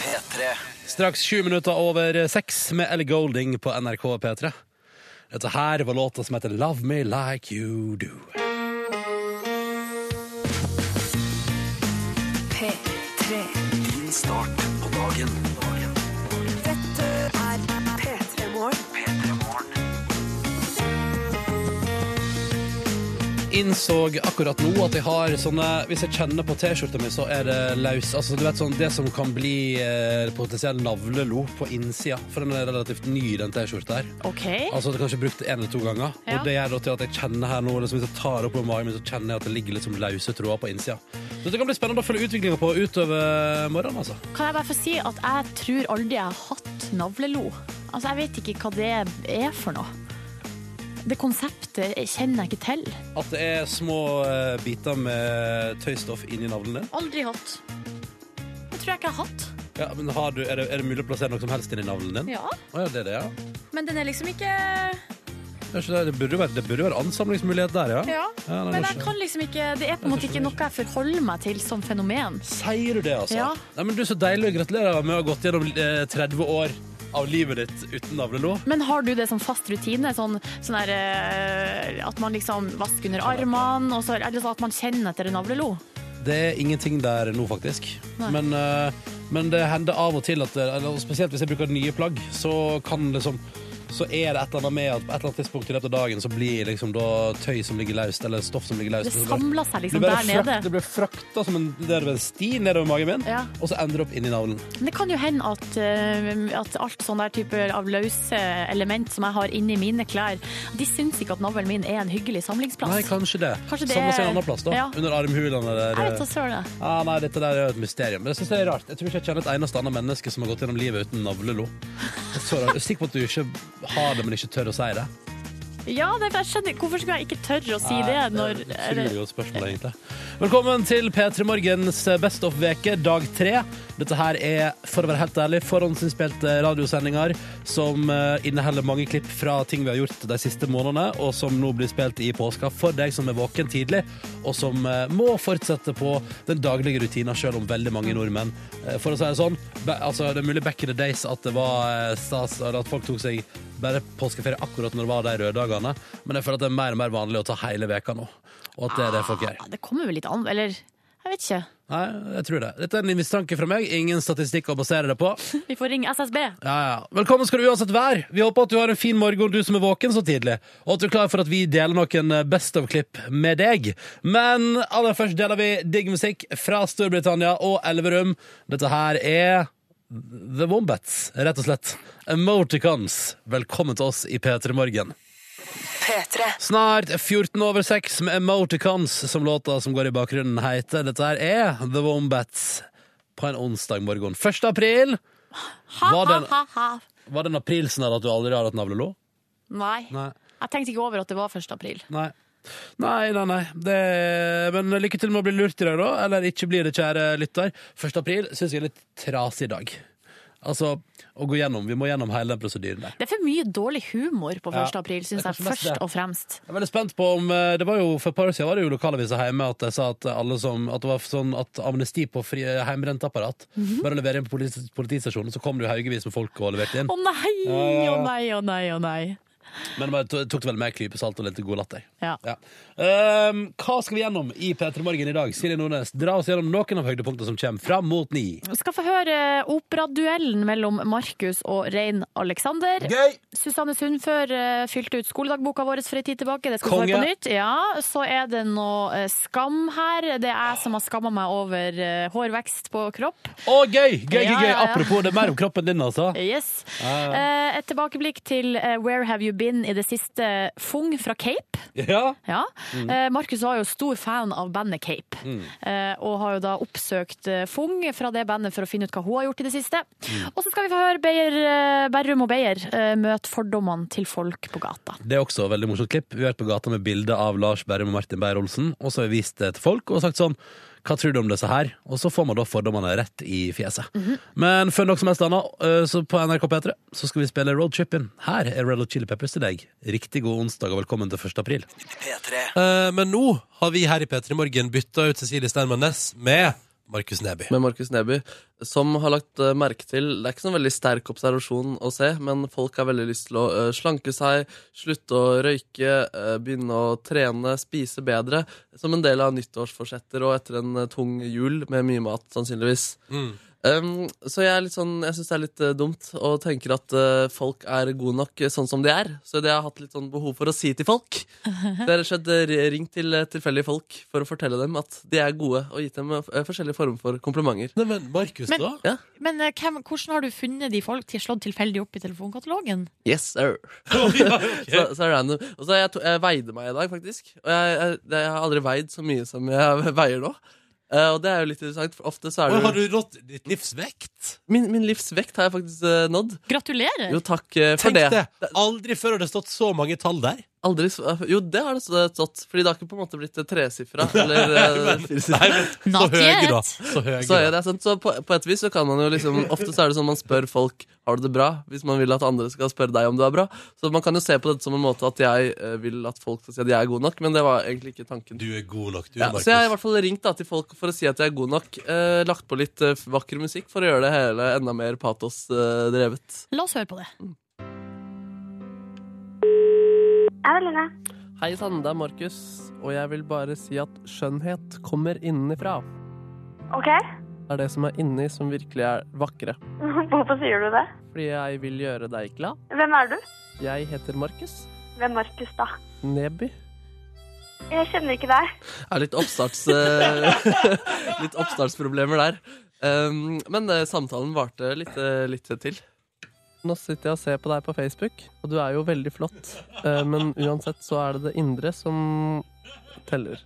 P3. Straks sju minutter over seks med Ellie Golding på NRK P3. Dette her var låta som heter Love Me Like You Do. P3. Din start på dagen. Dette er P3 Morgen. Innså akkurat nå at jeg har sånne Hvis jeg kjenner på T-skjorta mi, så er det løs. Altså, du vet sånn det som kan bli eh, potensiell navlelo på innsida. For den er relativt ny, den T-skjorta her. OK. Altså det er kanskje brukt en eller to ganger. Ja. Og det gjør da til at jeg kjenner her nå liksom, Hvis jeg tar opp med magen min, så kjenner jeg at det ligger litt som løse tråder på innsida. Så det kan bli spennende å følge utviklinga på utover morgenen, altså. Kan jeg bare få si at jeg tror aldri jeg har hatt navlelo. Altså, jeg vet ikke hva det er for noe. Det konseptet kjenner jeg ikke til. At det er små eh, biter med tøystoff inni navlen din? Aldri hatt. Det tror jeg ikke jeg har hatt. Ja, men har du, er, det, er det mulig å plassere noe som helst inni navlen din? Ja. Å ja, det er det, ja. Men den er liksom ikke Det, er ikke det, det, burde jo være, det burde jo være ansamlingsmulighet der, ja. Ja. Ja, nei, Men nå jeg skjønner kan liksom ikke Det er på en måte ikke noe jeg forholder meg til som fenomen. Sier du det, altså? Ja. Nei, men du, Så deilig. Gratulerer med å ha gått gjennom eh, 30 år av livet ditt uten navlelo. Men har du det som fast rutine? Sånn, sånn der, eh, at man liksom vasker Sånn under armene, og så, eller sånn at man kjenner etter en navlelo? Det er ingenting der nå, faktisk. Nei. Men, eh, men det hender av og til, at, eh, eller, spesielt hvis jeg bruker nye plagg, så kan liksom så er det et eller annet med at på et eller annet tidspunkt i løpet av dagen så blir liksom da tøy som ligger løst, eller stoff som ligger løst Det så bare- samler seg liksom det bare der nede. frakt- Det blir frakta som en, det er en sti nedover magen min, Ja. og så ender det opp inni navlen. Men det kan jo hende at, eh, at alt sånn der type av løse element som jeg har inni mine klær, de syns ikke at navlen min er en hyggelig samlingsplass. Nei, kanskje det. Kanskje det Samle seg er- en annen plass, da. Ja. Under armhulene eh, eller jeg vet da søren. jeg. Ja, nei, dette der er jo et mysterium. Men jeg synes det er rart. Jeg tror ikke jeg kjenner et eneste annet menneske som har gått gjennom livet uten navlelo. Jeg er Så rart. Jeg er sikker på at du ikke har det, men ikke tør å si det. Ja, det, jeg skjønner. Hvorfor skulle jeg ikke tørre å si det? Når, Det er et utrolig godt spørsmål, egentlig. Velkommen til P3 Morgens Best of-veke, dag tre. Dette her er, for å være helt ærlig, forhåndsinnspilte radiosendinger som eh, inneholder mange klipp fra ting vi har gjort de siste månedene, og som nå blir spilt i påska for deg som er våken tidlig, og som eh, må fortsette på den daglige rutina, selv om veldig mange nordmenn eh, For å si det sånn, be, altså, det er mulig back in the days at det var eh, stas eller at folk tok seg bare påskeferie akkurat når det var de røde dagene, men jeg føler at det er mer og mer vanlig å ta hele veka nå. Og at det er det folk gjør. Ja, det kommer vel litt an, eller jeg vet ikke. Nei, jeg tror det. Dette er en mistanke fra meg. Ingen statistikk å basere det på. Vi får ringe SSB. Ja, ja. Velkommen skal du uansett være. Vi håper at du har en fin morgen, du som er våken så tidlig. Og at du er klar for at vi deler noen eh, Best of-klipp med deg. Men aller først deler vi digg musikk fra Storbritannia og Elverum. Dette her er The Wombats, rett og slett. Emoticons. Velkommen til oss i P3 Morgen. P3. Snart 14 over 6 med Emoticons, som låta som går i bakgrunnen heter. Dette her er The Wombats på en onsdag morgen. 1. april. Ha, Var ha, den- ha, ha. Var den aprilsen her at du aldri har hatt navlelo? Nei. Nei. Jeg tenkte ikke over at det var 1. april. Nei. Nei, nei, nei. Det... Men lykke til med å bli lurt i dag, da. Eller ikke bli det, kjære lytter. 1. april syns jeg er litt trasig dag. Altså, å gå gjennom. Vi må gjennom hele den prosedyren der. Det er for mye dårlig humor på 1. Ja, april, det syns er jeg, kanskje mest det. først og fremst. Jeg er veldig spent på om eh, Det var jo for et par år siden var det jo lokalavisa hjemme at de sa at alle som At det var sånn at amnesti på fri, heimrenteapparat Mhm. Bare levere inn på politi, politistasjonen, så kom det jo haugevis med folk og leverte inn. Å nei, å Ja, ja, ja. nei, å nei, å nei. Men det var- tok det vel med en klype salt og litt god latter. Ja. Ja. Ehm, hva skal vi gjennom i P3 Morgen i dag? Silje Nordnes, dra oss gjennom noen av høydepunktene som kommer fram mot ni. Vi skal få høre operaduellen mellom Markus og Rein Alexander. Gøy! Susanne Sundfør eh, fylte ut skoledagboka vår for en tid tilbake. Det skal vi Konge. få høre på nytt. Ja, så er det noe eh, skam her. Det er jeg som har skamma meg over eh, hårvekst på kropp. Å, gøy! Gøy, Ja, gøy, gøy! ja, ja. Apropos, det er mer om kroppen din, altså. Yes. Ja, Eh, Et tilbakeblikk til eh, Where Have You Been i det siste Fung fra Cape. Ja. Ja. Mm. Eh, Markus var jo stor fan av bandet Cape, eh, og har jo da oppsøkt eh, Fung fra det bandet for å finne ut hva hun har gjort i det siste. Mm. Og så skal vi få høre Beyer, eh, Berrum og Beyer eh, møte fordommene til folk på gata. Det er også et veldig morsomt klipp. Vi har vært på gata med bilde av Lars Berrum og Martin Beyer-Olsen, og så har vi vist det til folk og sagt sånn Hva tror du om disse her? Og så får man da fordommene rett i fjeset. Men før noe som helst annet, øh, så på NRK P3 så skal vi spille Roadtrippin. Her er Red Hot Chili Peppers til deg. Riktig god onsdag og velkommen til 1. april. P3. Eh, men nå har vi her i P3 Morgen bytta ut Cecilie Steinmann Næss med Markus Neby. med Markus Neby, som har lagt eh, merke til Det er ikke sånn veldig sterk observasjon å se, men folk har veldig lyst til å eh, slanke seg, slutte å røyke, eh, begynne å trene, spise bedre, som en del av nyttårsforsetter og etter en eh, tung jul med mye mat, sannsynligvis. Mm. Um, så jeg, er litt sånn, jeg syns det er litt eh, dumt og tenker at eh, folk er gode nok eh, sånn som de er. Så det har jeg hatt litt sånn behov for å si til folk. Det har rett og slett eh, ringt til eh, tilfeldige folk for å fortelle dem at de er gode, og gitt dem eh, forskjellige former for komplimenter. Nei, men Markus, Men- da? Men eh, hvem, hvordan har du funnet de folk til slått tilfeldig opp i telefonkatalogen? Yes, sir. Så, så random. Og så jeg, to, jeg veide meg i dag, faktisk. Og jeg, jeg, det- jeg har aldri veid så mye som jeg veier nå. Eh, og det er jo litt interessant. For ofte så er Oi, det har jo du rått ditt livs vekt? Min, min livs vekt har jeg faktisk eh, nådd. Gratulerer! Jo, takk eh, for Tenk det. det. Aldri før har det stått så mange tall der. Aldri, s- eh, jo, det har det stått, Fordi det har ikke på en måte blitt eh, tresifra eller eh, Nei, firesifra. men, så Not høye, yet. da. Så høye, Så er da. det sant? Så på, på et vis så kan man jo liksom Ofte så er det sånn man spør folk Har du det bra, hvis man vil at andre skal spørre deg om du er bra. Så man kan jo se på dette som en måte at jeg eh, vil at folk skal si at jeg er god nok, men det var egentlig ikke tanken. Du er god nok, du, Ja, Markus. så jeg har i hvert fall ringt da, til folk for å si at jeg er god nok. Eh, lagt på litt eh, vakker musikk for å gjøre det hele enda mer eh, patos-drevet. La oss høre på det. Evelina. Hei sann, det er Markus, og jeg vil bare si at skjønnhet kommer innenfra. Ok, Det er det som er inni som virkelig er vakre. hvorfor sier du det? Fordi jeg vil gjøre deg glad. Hvem er du? Jeg heter Markus Hvem er Markus, da? Neby. Jeg kjenner ikke deg. Er litt oppstarts... eh, litt oppstartsproblemer der. Um, men eh, samtalen varte litt, eh, litt til. Nå sitter jeg og ser på deg på Facebook, og du er jo veldig flott. Eh, men uansett så er det det indre som teller.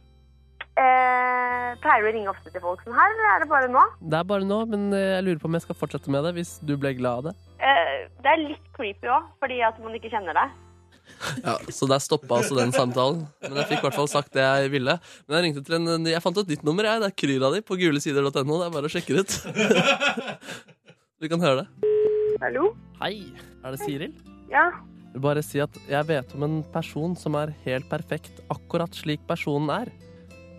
Eh, pleier du å ringe ofte til folk sånn her, eller er det bare nå? Det er bare nå, men eh, jeg lurer på om jeg skal fortsette med det hvis du ble glad av det. Eh, det er litt creepy òg, fordi at man ikke kjenner deg. Ja, Så der stoppa altså den samtalen. Men jeg fikk i hvert fall sagt det jeg ville. Men jeg ringte til en ny Jeg fant et nytt nummer, jeg. Det er Kryra di på gulesider.no. Det er bare å sjekke det ut. Du kan høre det. Hallo? Hei. Er det Siril? Ja. vil bare si at jeg vet om en person som er helt perfekt akkurat slik personen er.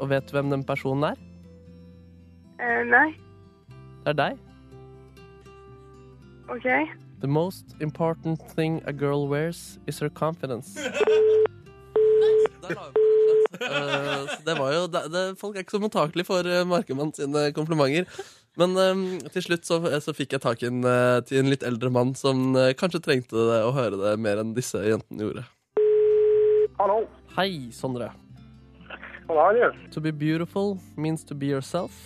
Og vet du hvem den personen er? Eh, nei. Det er deg. Ok. The most important thing a girl wears is her confidence. Eh, så det var jo, det, det, folk er ikke så mottakelige for eh, Markemann sine komplimenter. Men eh, til slutt så, så fikk jeg tak i en, eh, til en litt eldre mann som eh, kanskje trengte det, å høre det mer enn disse jentene gjorde. Hallo. Hei, Sondre. God dag, du. To be beautiful means to be yourself.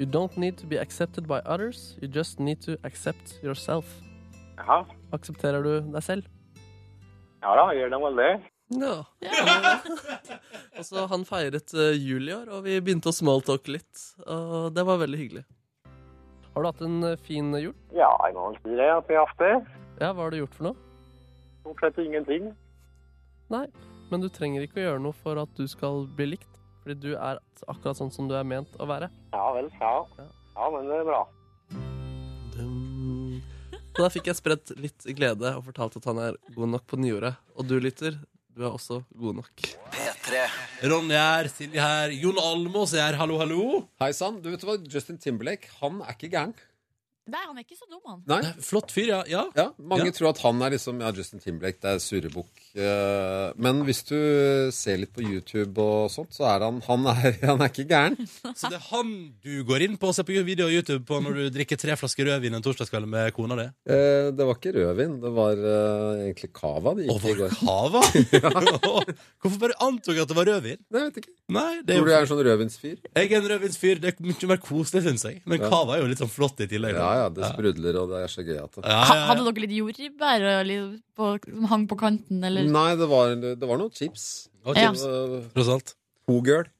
You don't need to be accepted by others, you just need to accept yourself. Jaha. Aksepterer du deg selv? Ja da, gjør det vel det. Ja. og så han feiret eh, jul i år, og vi begynte å smalltalke litt. Og det var veldig hyggelig. Har du hatt en eh, fin jul? Ja, jeg må vel si det at vi har hatt det. Ja, hva har du gjort for noe? Stort sett ingenting. Nei, men du trenger ikke å gjøre noe for at du skal bli likt. Fordi du er akkurat sånn som du er ment å være. Ja vel, ja. Ja, men det er bra. Dum. Så da fikk jeg spredt litt glede og fortalt at han er god nok på nyordet. Og du lytter, du er også god nok. P3. Ronny her, Silje her, Jon Almås er her, hallo, hallo. Hei sann. Du vet du hva, Justin Timberlake, han er ikke gæren. Nei, han er ikke så dum, han. Nei. Flott fyr, ja. ja. Ja, mange Ja. tror at han er liksom Ja, Justin Timberlake, det er surrebukk. Eh, Men hvis du ser litt på YouTube og sånt, så er han Han er, han er ikke gæren. Så det er han du går inn på og ser på video og YouTube på når du drikker tre flasker rødvin en torsdagskveld med kona di? Eh, Det var ikke rødvin, det var eh, egentlig cava det gikk i Over går. hava? Hvorfor bare antok jeg at det var rødvin? Nei, jeg vet ikke. Nei, det er Tror du jo jeg er en sånn rødvinsfyr? Jeg er en rødvinsfyr. Det er mye mer koselig, syns jeg. Men cava er jo litt sånn flott i tillegg. Ja da. ja, det sprudler, og det er så gøy at det Ja, Ha, ja, hadde dere litt jordbær og litt på, som hang på kanten, eller? Nei, det var, det var noen chips. Og Ja. chips, Eh, tross alt. Hogirl.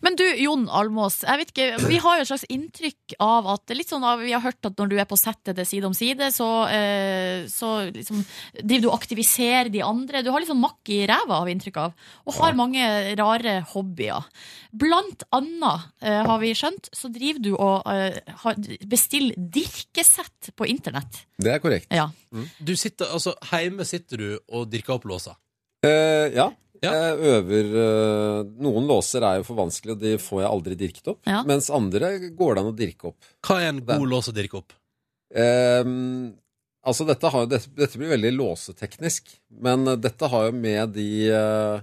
Men du, Jon Almås, jeg vet ikke, vi har jo et slags inntrykk av at litt sånn av, Vi har hørt at når du er på settet til Side om side, så, eh, så liksom, driver du og aktiviserer de andre. Du har litt sånn makk i ræva, har vi inntrykk av. Og har mange rare hobbyer. Blant annet, eh, har vi skjønt, så driver du og eh, har- bestiller dirkesett på internett. Det er korrekt. Mm. Ja. Du sitter, altså, Hjemme sitter du og dirker opp låsa. Eh, ja. Ja. Jeg øver eh, Noen låser er jo for vanskelig, og de får jeg aldri dirket opp. Ja. Mens andre går det an å dirke opp. Hva er en god lås å dirke opp? Ehm, altså, dette, har, dette, dette blir veldig låseteknisk, men eh, dette har jo med de eh,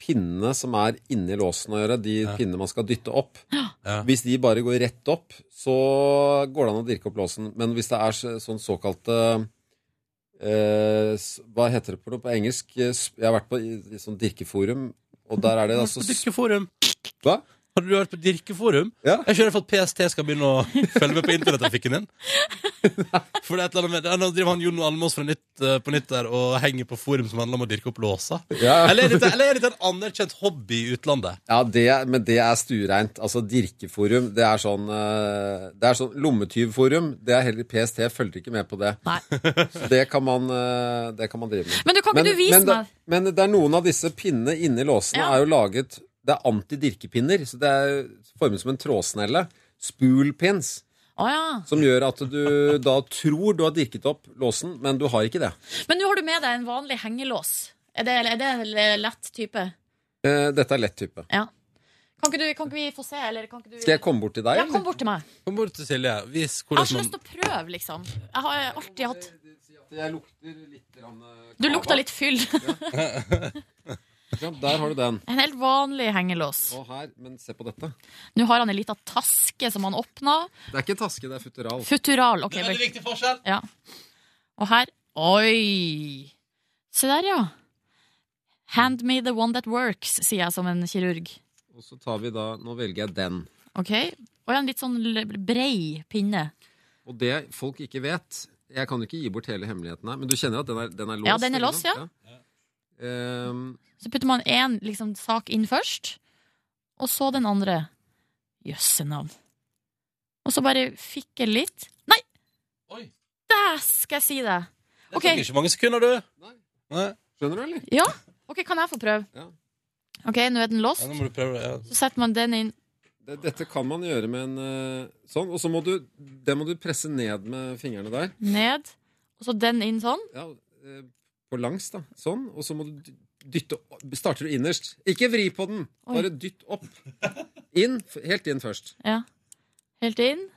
pinnene som er inni låsen å gjøre, de Ja. pinnene man skal dytte opp. Ja. Hvis de bare går rett opp, så går det an å dirke opp låsen. Men hvis det er så- sånn såkalte eh, s- Hva heter det på, noe på engelsk? Eh, sp- Jeg har vært på i, i sånn dirkeforum, og der er det altså sp- Dirkeforum. Hva? Har du hørt på Dirkeforum? Ja. Jeg skjønner for at PST skal begynne å følge med på internettrafikken din. For det er et eller annet med Nå driver han Jon Almaas fra nytt, eh, på nytt der og henger på forum som handler om å dirke opp låser. Ja. Eller er dette, eller er dette en anerkjent hobby i utlandet? Ja, det, men det er stuereint. Altså, Dirkeforum, det er sånn, eh, det er sånn Lommetyvforum, det er heller PST, følger ikke med på det. Nei. Så det kan man, eh, det kan man drive med. Men du, kan ikke du vise men, det- meg? men det er noen av disse pinnene inni låsene Ja. er jo laget Det er antidirkepinner, så det er formet som en trådsnelle. Spoolpins. Å ja. Som gjør at du da tror du har dirket opp låsen, men du har ikke det. Men nå har du med deg en vanlig hengelås. Er det, er det en lett type? Eh, Dette er lett type. Kan ikke, du, kan ikke vi få se, eller kan ikke du Skal jeg komme bort til deg? Ja, kom bort til meg. Kom bort til Silje. Vis Jeg hvordan har så man lyst til å prøve, liksom. Jeg har alltid hatt Jeg lukter litt eh, rann, Du lukta litt fyll. Der har du den. En helt vanlig hengelås. Og her, men se på dette. Nå har han ei lita taske som han åpna. Det er ikke taske, det er futteral. Futural. ok, Veldig vel. viktig forskjell. Ja. Og her Oi! Se der, ja. Hand me the one that works, sier jeg som en kirurg. Og så tar vi da, nå velger jeg den. Ok? Og en litt sånn l- brei pinne. Og det folk ikke vet, jeg kan jo ikke gi bort hele hemmeligheten her, men du kjenner at den er, den er låst? Ja, den er ikke låst, sant? ja. Ja. Ehm, Så putter man én liksom, sak inn først, og så den andre. Jøsse navn. Og så bare fikk jeg litt Nei! Oi. Der skal jeg si det! Det Ok. tok ikke mange sekunder, du. Nei. Nei. skjønner du, eller? Ja, ok, kan jeg få prøve? Ja. Ok, nå er den låst. Ja, nå må du prøve. Ja. Så setter man den inn. Det- Dette kan man gjøre med en eh, sånn, og så må du, det må du presse ned med fingrene der. ned, og så den inn sånn. Ja, eh, på langs da, sånn, og så må du dy- dytte, opp- starter du innerst. Ikke vri på den, Oi. bare dytt opp. Inn, f- helt inn først. Ja. Helt inn.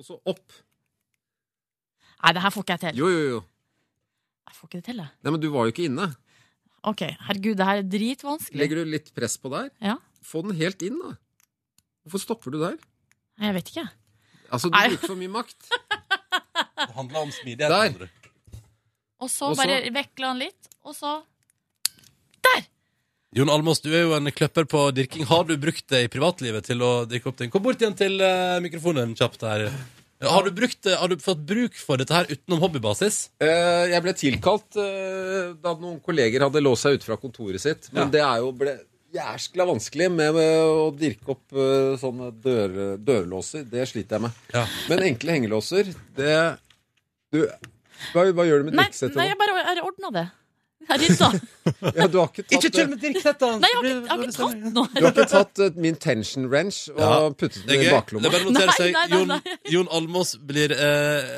Og så opp. Nei, det her får ikke jeg til. Jo, jo, jo. Jeg får ikke det til, jeg. Nei, men du var jo ikke inne. Ok, herregud, det her er dritvanskelig. Legger du litt press på der? Ja. Få den helt inn, da. Hvorfor stopper du der? Nei, Jeg vet ikke. Altså, du Nei. bruker for mye makt. Det handler om smidighet. Der. mener du. Og så Og så- bare vekla han litt, og så Jon Almaas, du er jo en kløpper på dirking. Har du brukt det i privatlivet til å dirke opp ting? Kom bort igjen til eh, mikrofonen kjapt her. Har du, brukt det, har du fått bruk for dette her utenom hobbybasis? Eh, jeg ble tilkalt eh, da noen kolleger hadde låst seg ute fra kontoret sitt. Men Ja. det er jo ble jæskla vanskelig med, med å dirke opp eh, sånne dør, dørlåser. Det sliter jeg med. Ja. Men enkle hengelåser, det Du hva, hva gjør du med Nei, drikkesettet nei nå? jeg bare jeg ordna det. Jeg rydda. Ja, du har ikke tatt, med dirksettene! Nei, jeg har ikke, jeg har ikke tatt Du noe. har ikke tatt eh, min tension wrench og Ja, puttet Det den er gøy. i Det er baklomma? bare å notere Nei, seg. nei, nei, Jon, nei. Jon Almaas blir, eh,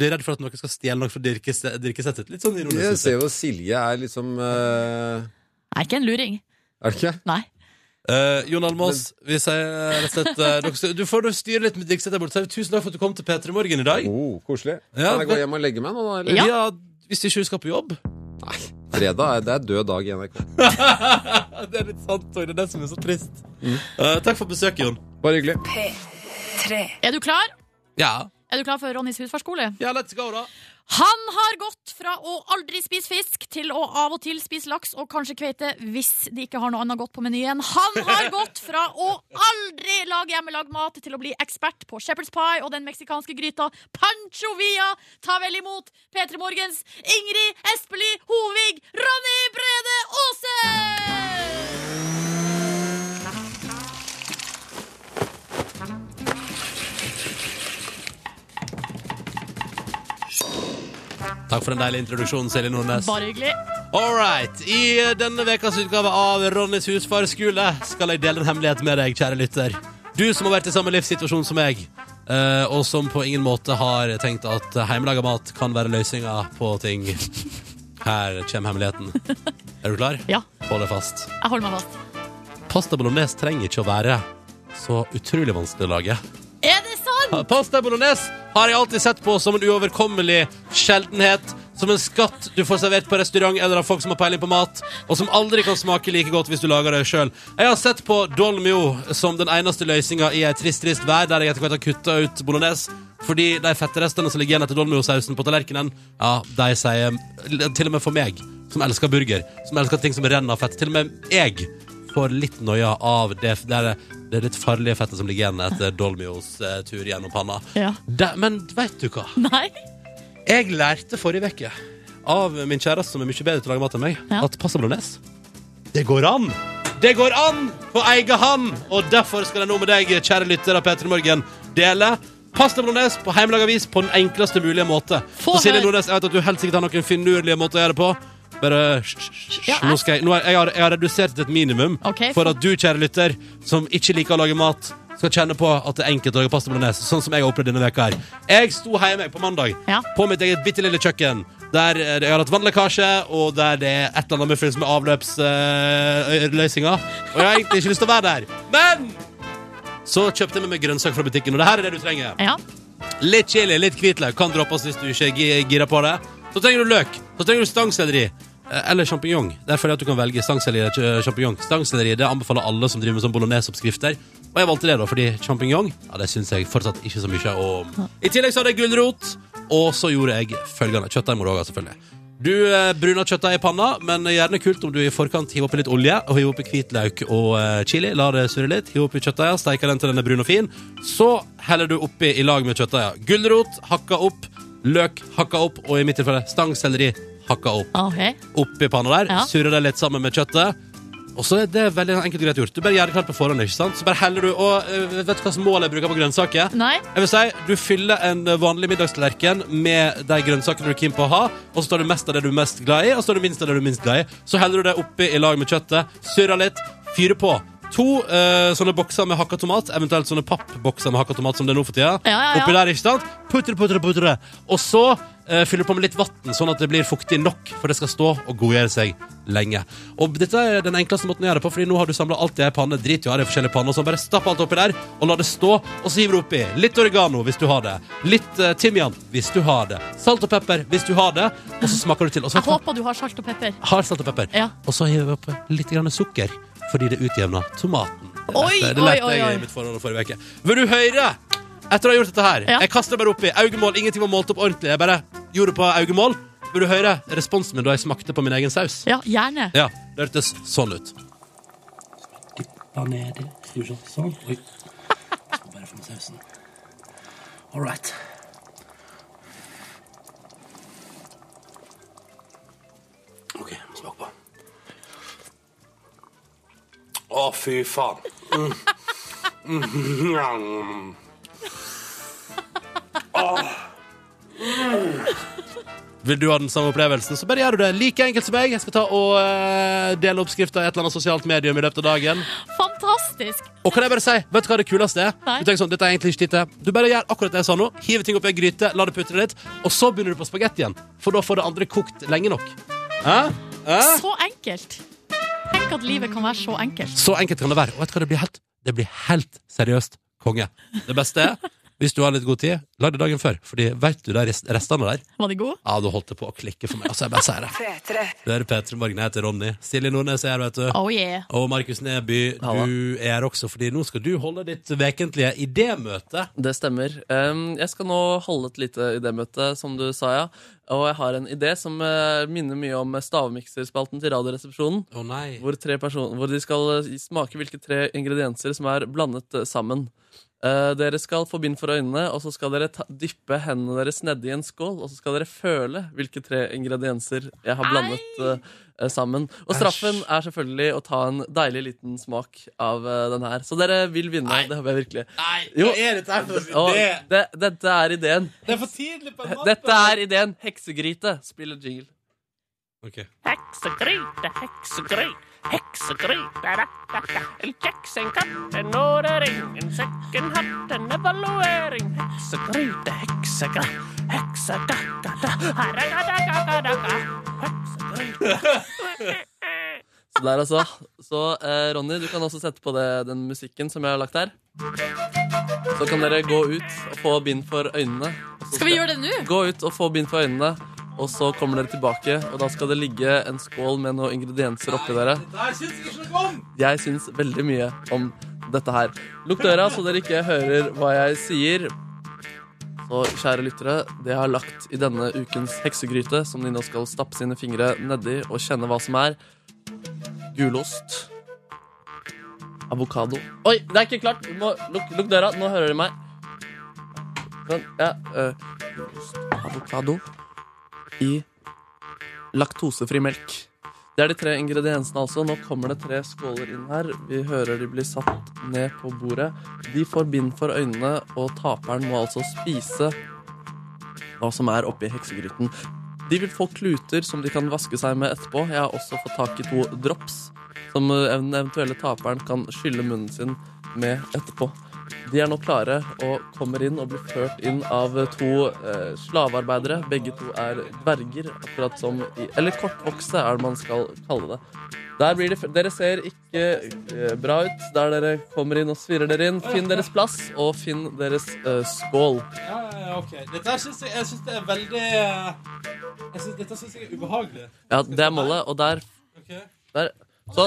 blir redd for at noen skal stjele noe fra dirkese- dirkesettet. Litt sånn ironisk. Jeg synes jeg. ser jo Silje er liksom eh, Nei, ikke en luring. Er det ikke? Nei. Eh, Jon Almaas, vi sier rett og slett eh, dere- Du får du styre litt med dirkesettet borte. Tusen takk for at du kom til P3 Morgen i dag. Oh, koselig. Ja, kan jeg gå hjem og legge meg nå, da? Eller? Ja. hvis ikke du skal på jobb. Nei. Fredag er, det er død dag i NRK. det er litt sant, og det er det som er så trist. Eh, takk for besøket, Jon. Mm. Bare hyggelig. Tre. Er du klar? Ja. Er du klar for Ronnys husfarskole? ja, let's go, da. Han har gått fra å aldri spise fisk til å av og til spise laks og kanskje kveite hvis de ikke har noe annet godt på menyen. Han har gått fra å aldri lage hjemmelagd mat til å bli ekspert på shepherd's pie og den meksikanske gryta Pancho Villa. Ta vel imot P3 Morgens Ingrid Espelid Hovig Ronny Brede Aase! Takk for den deilige introduksjonen, Silje Nordnes. Bare hyggelig. All right. I eh, denne ukas utgave av Ronnys husfarskole skal jeg dele en hemmelighet med deg, kjære lytter. Du som har vært i samme livssituasjon som meg, eh, og som på ingen måte har tenkt at hjemmelaga mat kan være løsninga på ting. Her kommer hemmeligheten. Er du klar? Ja. Hold deg fast. Jeg holder meg fast. Pasta bolognese trenger ikke å være så utrolig vanskelig å lage. Er det sant? Pasta bolognese har jeg alltid sett på som en uoverkommelig sjeldenhet. Som en skatt du får servert på restaurant eller av folk som har peiling på mat, og som aldri kan smake like godt hvis du lager det sjøl. Jeg har sett på Dolmio som den eneste løsninga i ei trist, trist vær, der jeg etter hvert har kutta ut bolognese. Fordi de fetterestene som ligger igjen etter dolmiosausen på tallerkenen, ja, de sier Til og med for meg, som elsker burger, som elsker ting som renner av fett, til og med jeg får litt noia av det, det, er- det litt farlige fettet som ligger igjen etter Dolmios eh, tur gjennom panna. Ja. Det- men veit du hva? Nei. Jeg lærte forrige uke av min kjæreste, som er mye bedre til å lage mat enn meg, Ja. at pasta bolognese Det går an! Det går an på egen hånd! Og derfor skal jeg nå med deg, kjære lytter av P3 Morgen, dele pasta bolognese på hjemmelaga vis på den enkleste mulige måte. Få Så Silje høre. Nordnes, jeg vet at du helt sikkert har noen finurlige måter å gjøre det på. Bare hysj, hysj, hysj. Nå skal jeg, nå har, jeg, har, jeg har redusert det til et minimum Ok, for få- at du, kjære lytter, som ikke liker å lage mat, skal kjenne på at det er enkelt å lage pasta bolognese, sånn som jeg har opplevd denne veka her. Jeg sto hjemme på mandag Ja. på mitt eget bitte lille kjøkken. Der eh, jeg har hatt vannlekkasje, og der det er et eller annet muffins med avløpsløsninga. og jeg har egentlig ikke lyst til å være der. Men så kjøpte jeg med meg grønnsak fra butikken, og det her er det du trenger. Ja. Litt chili, litt hvitløk kan droppes hvis du ikke er gira på det. Så trenger du løk. Så trenger du stangselleri. eh, Eller sjampinjong. Der føler jeg at du kan velge stangselleri eller sjampinjong. Stangselleri det anbefaler alle som driver med sånn bologneseoppskrifter. Og jeg valgte det, da, fordi sjampinjong ja, det syns jeg fortsatt ikke så mye om. I tillegg så hadde jeg gulrot, og så gjorde jeg følgende. Kjøttdeig må du òg ha, selvfølgelig. Du eh, bruner kjøttdeig i panna, men gjerne kult om du i forkant hiver oppi litt olje. Og hiver oppi hvitløk og eh, chili. La det surre litt. Hiver oppi kjøttdeiga, steiker den til den er brun og fin. Så heller du oppi i lag med kjøttdeiga. Gulrot hakka opp. Løk hakka opp. Og i mitt tilfelle stangselleri hakka opp Ok. oppi panna der, Ja. surrer det litt sammen med kjøttet. Og så er det veldig enkelt og greit gjort. Du bare gjør det klart på forhånd. ikke sant? Så bare heller du, og eh, Vet du hva som mål jeg bruker på grønnsaker? Nei. Jeg vil si, Du fyller en vanlig middagstallerken med de grønnsakene du er keen på å ha, og så tar du mest av det du er mest glad i, og så tar du minst av det du er minst glad i. Så heller du det oppi i lag med kjøttet, surrer litt, fyrer på. To eh, sånne bokser med hakka tomat, eventuelt sånne pappbokser med hakka tomat som det er nå for tida. Ja, ja, ja. Oppi der, ikke sant? Putre, putre, putre. Og så eh, fyller du på med litt vann, sånn at det blir fuktig nok, for det skal stå og godgjøre seg lenge. Og dette er den enkleste måten å gjøre det på, Fordi nå har du samla alt i ei panne. Drit i å ha det i forskjellige panner. Så bare stapp alt oppi der, og la det stå. Og så hiver du oppi litt oregano hvis du har det. Litt eh, timian hvis du har det. Salt og pepper hvis du har det. Og så smaker du til. Og så Jeg håper du har salt og pepper. har salt og pepper. Ja. Og så hiver vi oppi litt grann sukker, fordi det utjevner tomaten. Det Oi, lærte- det oi, lærte oi, jeg oi. i mitt forhold forrige uke. Vil du høre? Etter å ha gjort dette her Ja. Jeg kastet det bare oppi. Augemål. Ingenting var målt opp ordentlig. Jeg bare gjorde det på augemål. Vil du høre responsen min da jeg smakte på min egen saus? Ja, gjerne. Ja, det hørtes sånn ut. Da ned, skal vi se, sånn. Oi. Skal bare få med sausen. All right. Ok, smak på. Å, fy faen. Mm. Mm. Vil du ha den samme opplevelsen, så bare gjør du det. Like enkelt som meg. Jeg skal ta og eh, dele oppskrifta i et eller annet sosialt medium i løpet av dagen. Fantastisk. Og kan jeg bare si, vet du hva det kuleste er? Nei. Du tenker sånn, dette er egentlig ikke dette. Du bare gjør akkurat det jeg sa nå. Hiver ting oppi en gryte, la det putre litt, og så begynner du på spagetti igjen. For da får det andre kokt lenge nok. Hæ? Hæ? Så enkelt. Tenk at livet kan være så enkelt. Så enkelt kan det være. Og vet du hva det blir helt? Det blir helt seriøst konge. Det beste er, hvis du har litt god tid, lag det dagen før. Fordi vet du de rest- restene der? Var det god? Ja, du holdt det på å klikke for meg. Altså, jeg bare sier det. P3. Du er Petter Morgen, jeg heter Ronny. Silje Nordnes er her, vet du. Oh yeah. Og Markus Neby, Halla. du er her også, fordi nå skal du holde ditt vekentlige idémøte. Det stemmer. Em, jeg skal nå holde et lite idémøte, som du sa, ja. Og jeg har en idé som eh, minner mye om stavmikserspalten til Radioresepsjonen. Å nei. Hvor, tre person- hvor de skal eh, smake hvilke tre ingredienser som er blandet eh, sammen. Eh, dere skal få bind for øynene, og så skal dere ta, dyppe hendene deres nedi en skål. Og så skal dere føle hvilke tre ingredienser jeg har blandet eh, eh, sammen. Og straffen er selvfølgelig å ta en deilig liten smak av eh, den her. Så dere vil vinne. Nei. Det håper jeg virkelig. Nei, Jo. hva er dette her for Og idé? det, dette er ideen. Det er for tidlig på en måte. Dette er ideen. Heksegryte. Spiller jingle. Ok. Heksegryte, heksegryte, heksegryte da, da, da. En kjeks, en katt, en årering, en sekk, en hatt, en evaluering. Heksegryte, heksegryte, heksegryte, da, da, da, da, da, da, da, da, da. Heksegryte. Så der, altså. Så eh, Ronny, du kan også sette på det, den musikken som jeg har lagt der. Så kan dere gå ut og få bind for øynene. Og så Skal vi gjøre det nå? Gå ut og få bind for øynene, og så kommer dere tilbake. Og da skal det ligge en skål med noen ingredienser oppi dere. Jeg syns veldig mye om dette her. Lukk døra, så dere ikke hører hva jeg sier. Så kjære lyttere, det jeg har lagt i denne ukens heksegryte, som de nå skal stappe sine fingre nedi og kjenne hva som er Gulost. Avokado. Oi, det er ikke klart! Du må lukk, lukk døra, nå hører de meg. Sånn, ja. øh, gulost, avokado i laktosefri melk. Det er de tre ingrediensene, altså. Nå kommer det tre skåler inn her. Vi hører de blir satt ned på bordet. De får bind for øynene, og taperen må altså spise hva som er oppi heksegryten. De vil få kluter som de kan vaske seg med etterpå. Jeg har også fått tak i to drops som eh, den eventuelle taperen kan skylle munnen sin med etterpå. De er nå klare og kommer inn og blir ført inn av to eh, slavearbeidere. Begge to er dverger, akkurat som i Eller kortvokste, er det man skal kalle det. Der blir det, dere ser ikke eh, bra ut der dere kommer inn og svirrer dere inn. Finn deres plass, og finn deres eh, skål. Ja, ja, ok. Dette her syns jeg, jeg synes det er veldig eh, jeg synes, Dette syns jeg er ubehagelig. Ja, det er målet, og der, der. Så,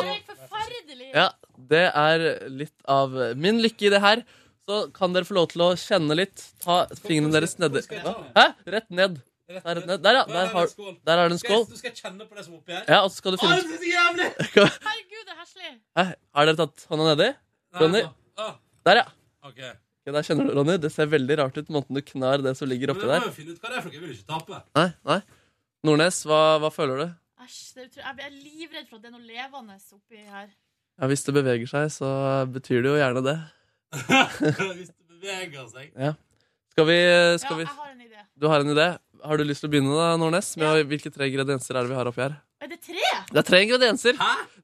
ja, det er litt av min lykke i det her. Så kan dere få lov til å kjenne litt. Ta fingrene deres nedi Hæ? Rett ned. Der, rett ned. der ja. Der, har, der er det en skål. Skal jeg, skal jeg kjenne på det som er oppi her? Ja, og så skal du Å, det er så jævlig! finne Hæ? Herregud, det er heslig. Har dere tatt hånda nedi? Ronny? Ah, Der, ja. ok. Ok, Der kjenner du, Ronny. Det ser veldig rart ut, måten du knar det som ligger Men oppi jeg må der. jo finne ut hva det er for noe. Jeg vil ikke tape. Nei, nei. Nordnes, hva, hva føler du? Æsj, det er utro- jeg er livredd for at det er noe levende oppi her. Ja, Hvis det beveger seg, så betyr det jo gjerne det. Hvis det beveger seg. Ja. Skal vi, ja, skal vi jeg har en idé. Du har en idé. Har du lyst til å begynne, da, Nordnes? Med å- Hvilke tre ingredienser er det vi har oppi her? Er det tre? Det er tre ingredienser.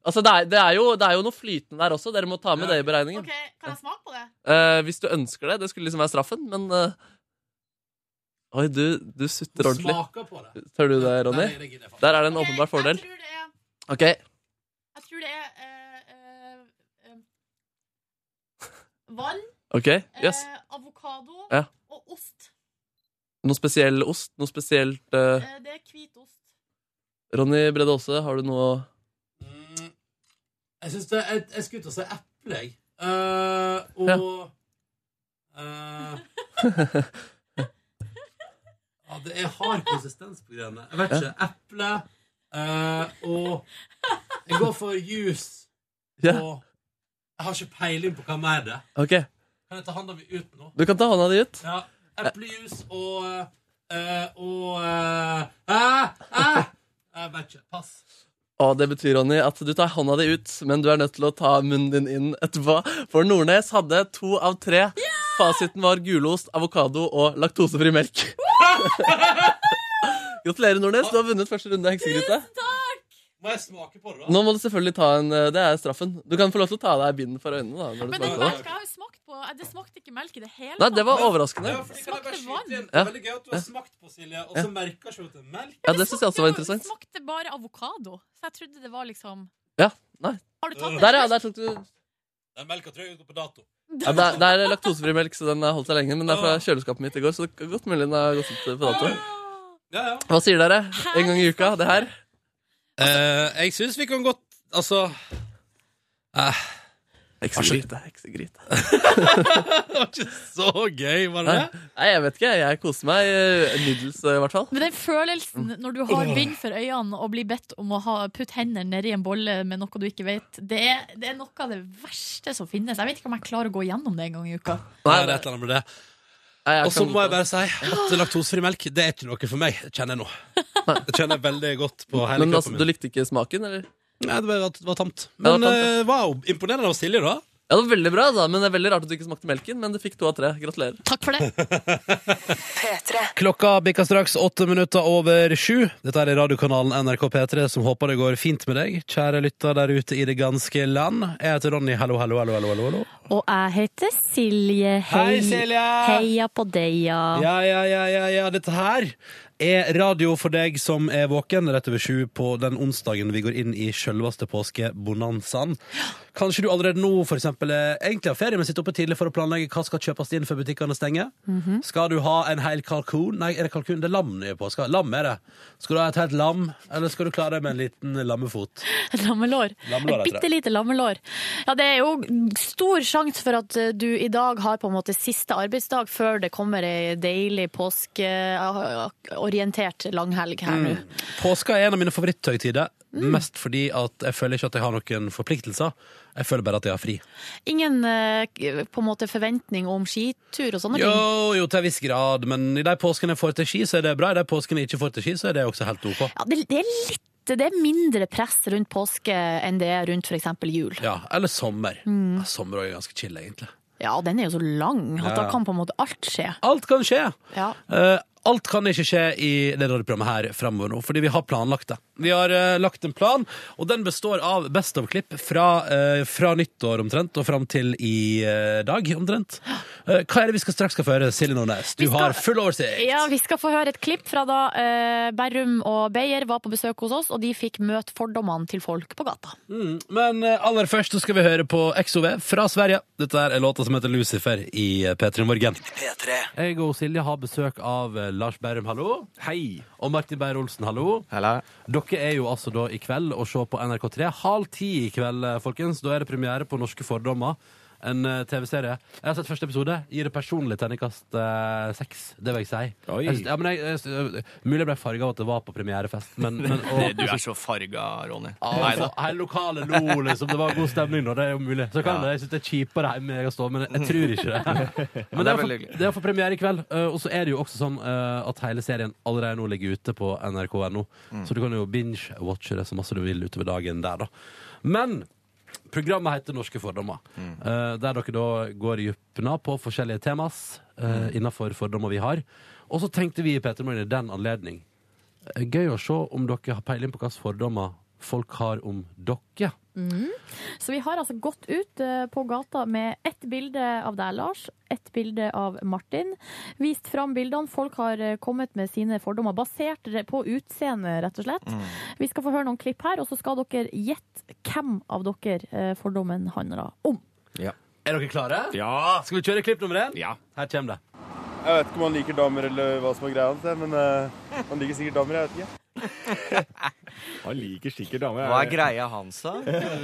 Altså, det, er, det, er jo, det er jo noe flytende der også. Dere må ta med det i beregningen. Ok, Kan jeg smake på det? Eh, hvis du ønsker det. Det skulle liksom være straffen, men eh, Oi, du, du sutter ordentlig. Smaker på det. Tør du det, Ronny? Nei, det gidder jeg faktisk. Der er det en åpenbar fordel. Jeg tror det er, OK. jeg tror det er eh, eh, eh, vann, ok, eh, Yes. avokado Ja. og ost. Noe spesiell ost? Noe spesielt eh, Eh, det er hvit ost. Ronny Brede Aase, har du noe Mm. Jeg synes det Jeg, jeg skulle ut og si eple, jeg. Eh, og eh, Ja, det er hard konsistens på greiene. Jeg vet ikke. Eple eh, og Jeg går for juice Ja. og Jeg har ikke peiling på hva mer det er. OK. Kan jeg ta hånda mi ut nå? Du kan ta hånda di ut. Ja. Eplejuice og eh, Og eh, eh, eh. Jeg vet ikke. Pass. Og det betyr, Ronny, at du tar hånda di ut, men du er nødt til å ta munnen din inn etterpå. For Nordnes hadde to av tre. Fasiten var gulost, avokado og laktosefri melk. Gratulerer, Nordnes. Du har vunnet første runde av Heksegryte. Må jeg smake på det, da? Nå må du selvfølgelig ta en eh, Det er straffen. Du kan få lov til å ta av deg binden for øynene. da når du Men den smaker på det. melka jeg har jo smakt på eh, Det smakte ikke melk i det hele Nei, det var overraskende. Ja, for det kan jeg bare Smakte skyte inn. vann. Det er veldig gøy at du har smakt på, Silje, og så merker ikke du at det er melk. Ja, Det syns jeg også var interessant. Det smakte bare avokado. Så jeg trodde det var liksom Ja, nei. Har Øh. du tatt det? Der, ja. Der tok du ja, Eh. Den melka tror jeg går på dato. det, er, det er laktosefri melk, så den har holdt seg lenge. Men det er fra kjøleskapet mitt i går, så det er godt mulig den har gått ut på dato. Ja, ja. Hva sier dere? En gang i uka, det her? Eh, jeg syns vi kan godt Altså eh, Heksegryte, heksegryte. Det var ikke så gøy, var det det? Nei, jeg vet ikke. Jeg koser meg eh, middels, eh, i hvert fall. Men den følelsen når du har bind for øynene og blir bedt om å ha, putte hendene nedi en bolle med noe du ikke vet, det er, det er noe av det verste som finnes. Jeg vet ikke om jeg klarer å gå gjennom det en gang i uka. Nei, det er et eller annet med det. Nei, jeg Og så kan- må jeg bare si at laktosefri melk det er ikke noe for meg. kjenner jeg nå. Det kjenner jeg veldig godt på hele Men altså, kroppen du min. likte ikke smaken, eller? Nei, det var, det var tamt. Ja, det var Men tamt, eh, wow, imponerende av Silje, da. Ja, det var veldig bra, da, men det er veldig rart at du ikke smakte melken. Men du fikk to av tre. Gratulerer. Takk for det. P3. Klokka bikker straks åtte minutter over sju. Dette er radiokanalen NRK P3, som håper det går fint med deg, kjære lytter der ute i det ganske land. Jeg heter Ronny. Hallo, hallo, hallo. hallo, hallo, hallo. Og jeg heter Silje. Hei. Silje! Heia på deg, ja. Ja, ja, ja, ja, ja, dette her er radio for deg som er våken rett over sju på den onsdagen vi går inn i selveste påskebonanzaen. Kanskje du allerede nå for eksempel, er- egentlig har ferie, men sitter oppe tidlig for å planlegge hva skal kjøpes inn før butikkene stenger. Mhm. Skal du ha en hel kalkun? Nei, er det kalkun? Det er lam nye på. Skal, lam er det. Skal du ha et helt lam, eller skal du klare deg med en liten lammefot? Lammelår. Lammelår, heter Et det. bitte lite lammelår. Ja, det er jo stor sjanse for at eh, du i dag har på en måte siste arbeidsdag før det kommer ei deilig påskeorientert langhelg Mm. her Mm. nå. Påska er en av mine favoritthøytider. Mest fordi at jeg føler ikke at jeg har noen forpliktelser. Jeg føler bare at jeg har fri. Ingen eh, k- på en måte forventning om skitur og sånne ting. Jo, jo, til en viss grad, men i de påskene jeg får til ski, så er det bra. I de påskene jeg ikke får til ski, så er det også helt OK. Ja, det, det er litt det er mindre press rundt påske enn det er rundt f.eks. jul. Ja, Eller sommer. Mm. Ja, Sommer også er ganske chill, egentlig. Ja, den er jo så lang at Ja, da ja. kan på en måte alt skje. Alt kan skje! Ja. Eh, alt kan ikke skje i det radioprogrammet her fremover nå, fordi vi har planlagt det. Vi har eh, lagt en plan, og den består av best of-klipp fra, eh, fra nyttår omtrent, og fram til i eh, dag omtrent. Eh, hva er det vi skal straks skal få høre, Silje Nordnes? Du har full oversikt! Ja, vi skal få høre et klipp fra da eh, Berrum og Beyer var på besøk hos oss, og de fikk møte fordommene til folk på gata. Mm, Men eh, aller først så skal vi høre på XOV fra Sverige. Dette her er låta som heter Lucifer i eh, P3 Morgen. Jeg og Silje har besøk av eh, Lars Berrum, hallo. Hei. Og Martin Beyer-Olsen, hallo. Dere er jo altså da i kveld å se på NRK3 halv ti i kveld, eh, folkens. Da er det premiere på Norske fordommer. En eh, TV-serie. Jeg har sett første episode. Gir det personlig terningkast eh, seks. Det vil jeg si. Oi. Jeg, synes- ja, men jeg, jeg, synes- mulig jeg ble farga av at det var på premierefest, men, men Det- Du er så farga, Ronny. Nei da. Hele lokalet lo, liksom. Det var god stemning da, det er jo mulig. Så kan Ja. det, jeg synes det er kjipere hjemme jeg har stått, men jeg tror ikke det. Men Men det det er er veldig for- hyggelig. det er for premiere i kveld. eh, Og så er det jo også sånn eh, at hele serien allerede nå ligger ute på nrk.no, Mm. så du kan jo binge-watche det så masse du vil utover dagen der, da. Men programmet heter Norske fordommer, eh, der dere da går i dypna på forskjellige temas uh, innenfor fordommer vi har. Og så tenkte vi i Peter Morgen i den anledning eh, Gøy å se om dere har peiling på hvilke fordommer folk har om dere. Mhm. Så vi har altså gått ut eh, på gata med ett bilde av deg, Lars, ett bilde av Martin. Vist fram bildene. Folk har eh, kommet med sine fordommer, basert re- på utseende, rett og slett. Mm. Vi skal få høre noen klipp her, og så skal dere gjette hvem av dere eh, fordommen handler om. Er dere klare? Ja Skal vi kjøre klipp nummer én? Ja Her kommer det. Jeg vet ikke om han liker damer eller hva som er greia hans, jeg, men eh, han liker sikkert damer. jeg vet ikke. Han liker sikkert damer. Hva er det- greia hans, da?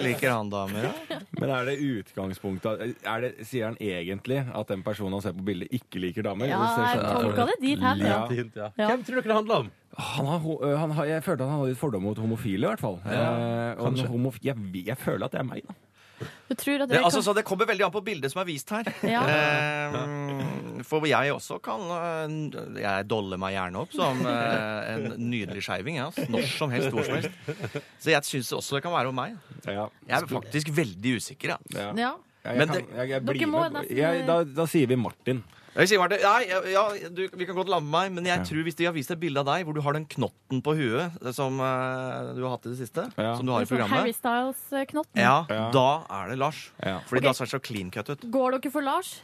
Liker han damer? da? Men er det utgangspunktet er det, Sier han egentlig at den personen han ser på bildet, ikke liker damer? Ja, Det ser jeg sånn ut. tolka det dit hen, ja. Lite hint, ja. Ja. Hvem tror dere det handler om? Han har, ho- øh, han har, jeg følte at han hadde litt fordommer mot homofile, i hvert fall. Ja, Eh, og en kanskje. homof jeg, jeg føler at det er meg, da. Du tror at Det, dere altså, kan- så det kommer veldig an på bildet som er vist her. Ja. Eh, for jeg også kan eh, Jeg doller meg gjerne opp som eh, en nydelig skeiving. Ja, altså. Når som helst, hvor som helst. Så jeg syns også det kan være om meg. Jeg er faktisk veldig usikker. Ja. Ja. Jeg, Men kan, det- jeg, jeg Dere blir må med. nesten- Jeg, da, da sier vi Martin. Jeg sier, Marte, nei, ja, ja, du, vi kan godt lamme meg, men jeg tror hvis de har vist et bilde av deg hvor du har den knotten på huet som eh, du har hatt i det siste, som du har i Sånn Harry programmet, Styles-knotten. ja, da er det Lars. Fordi Ok. da ser det så clean cut ut. Går dere for Lars?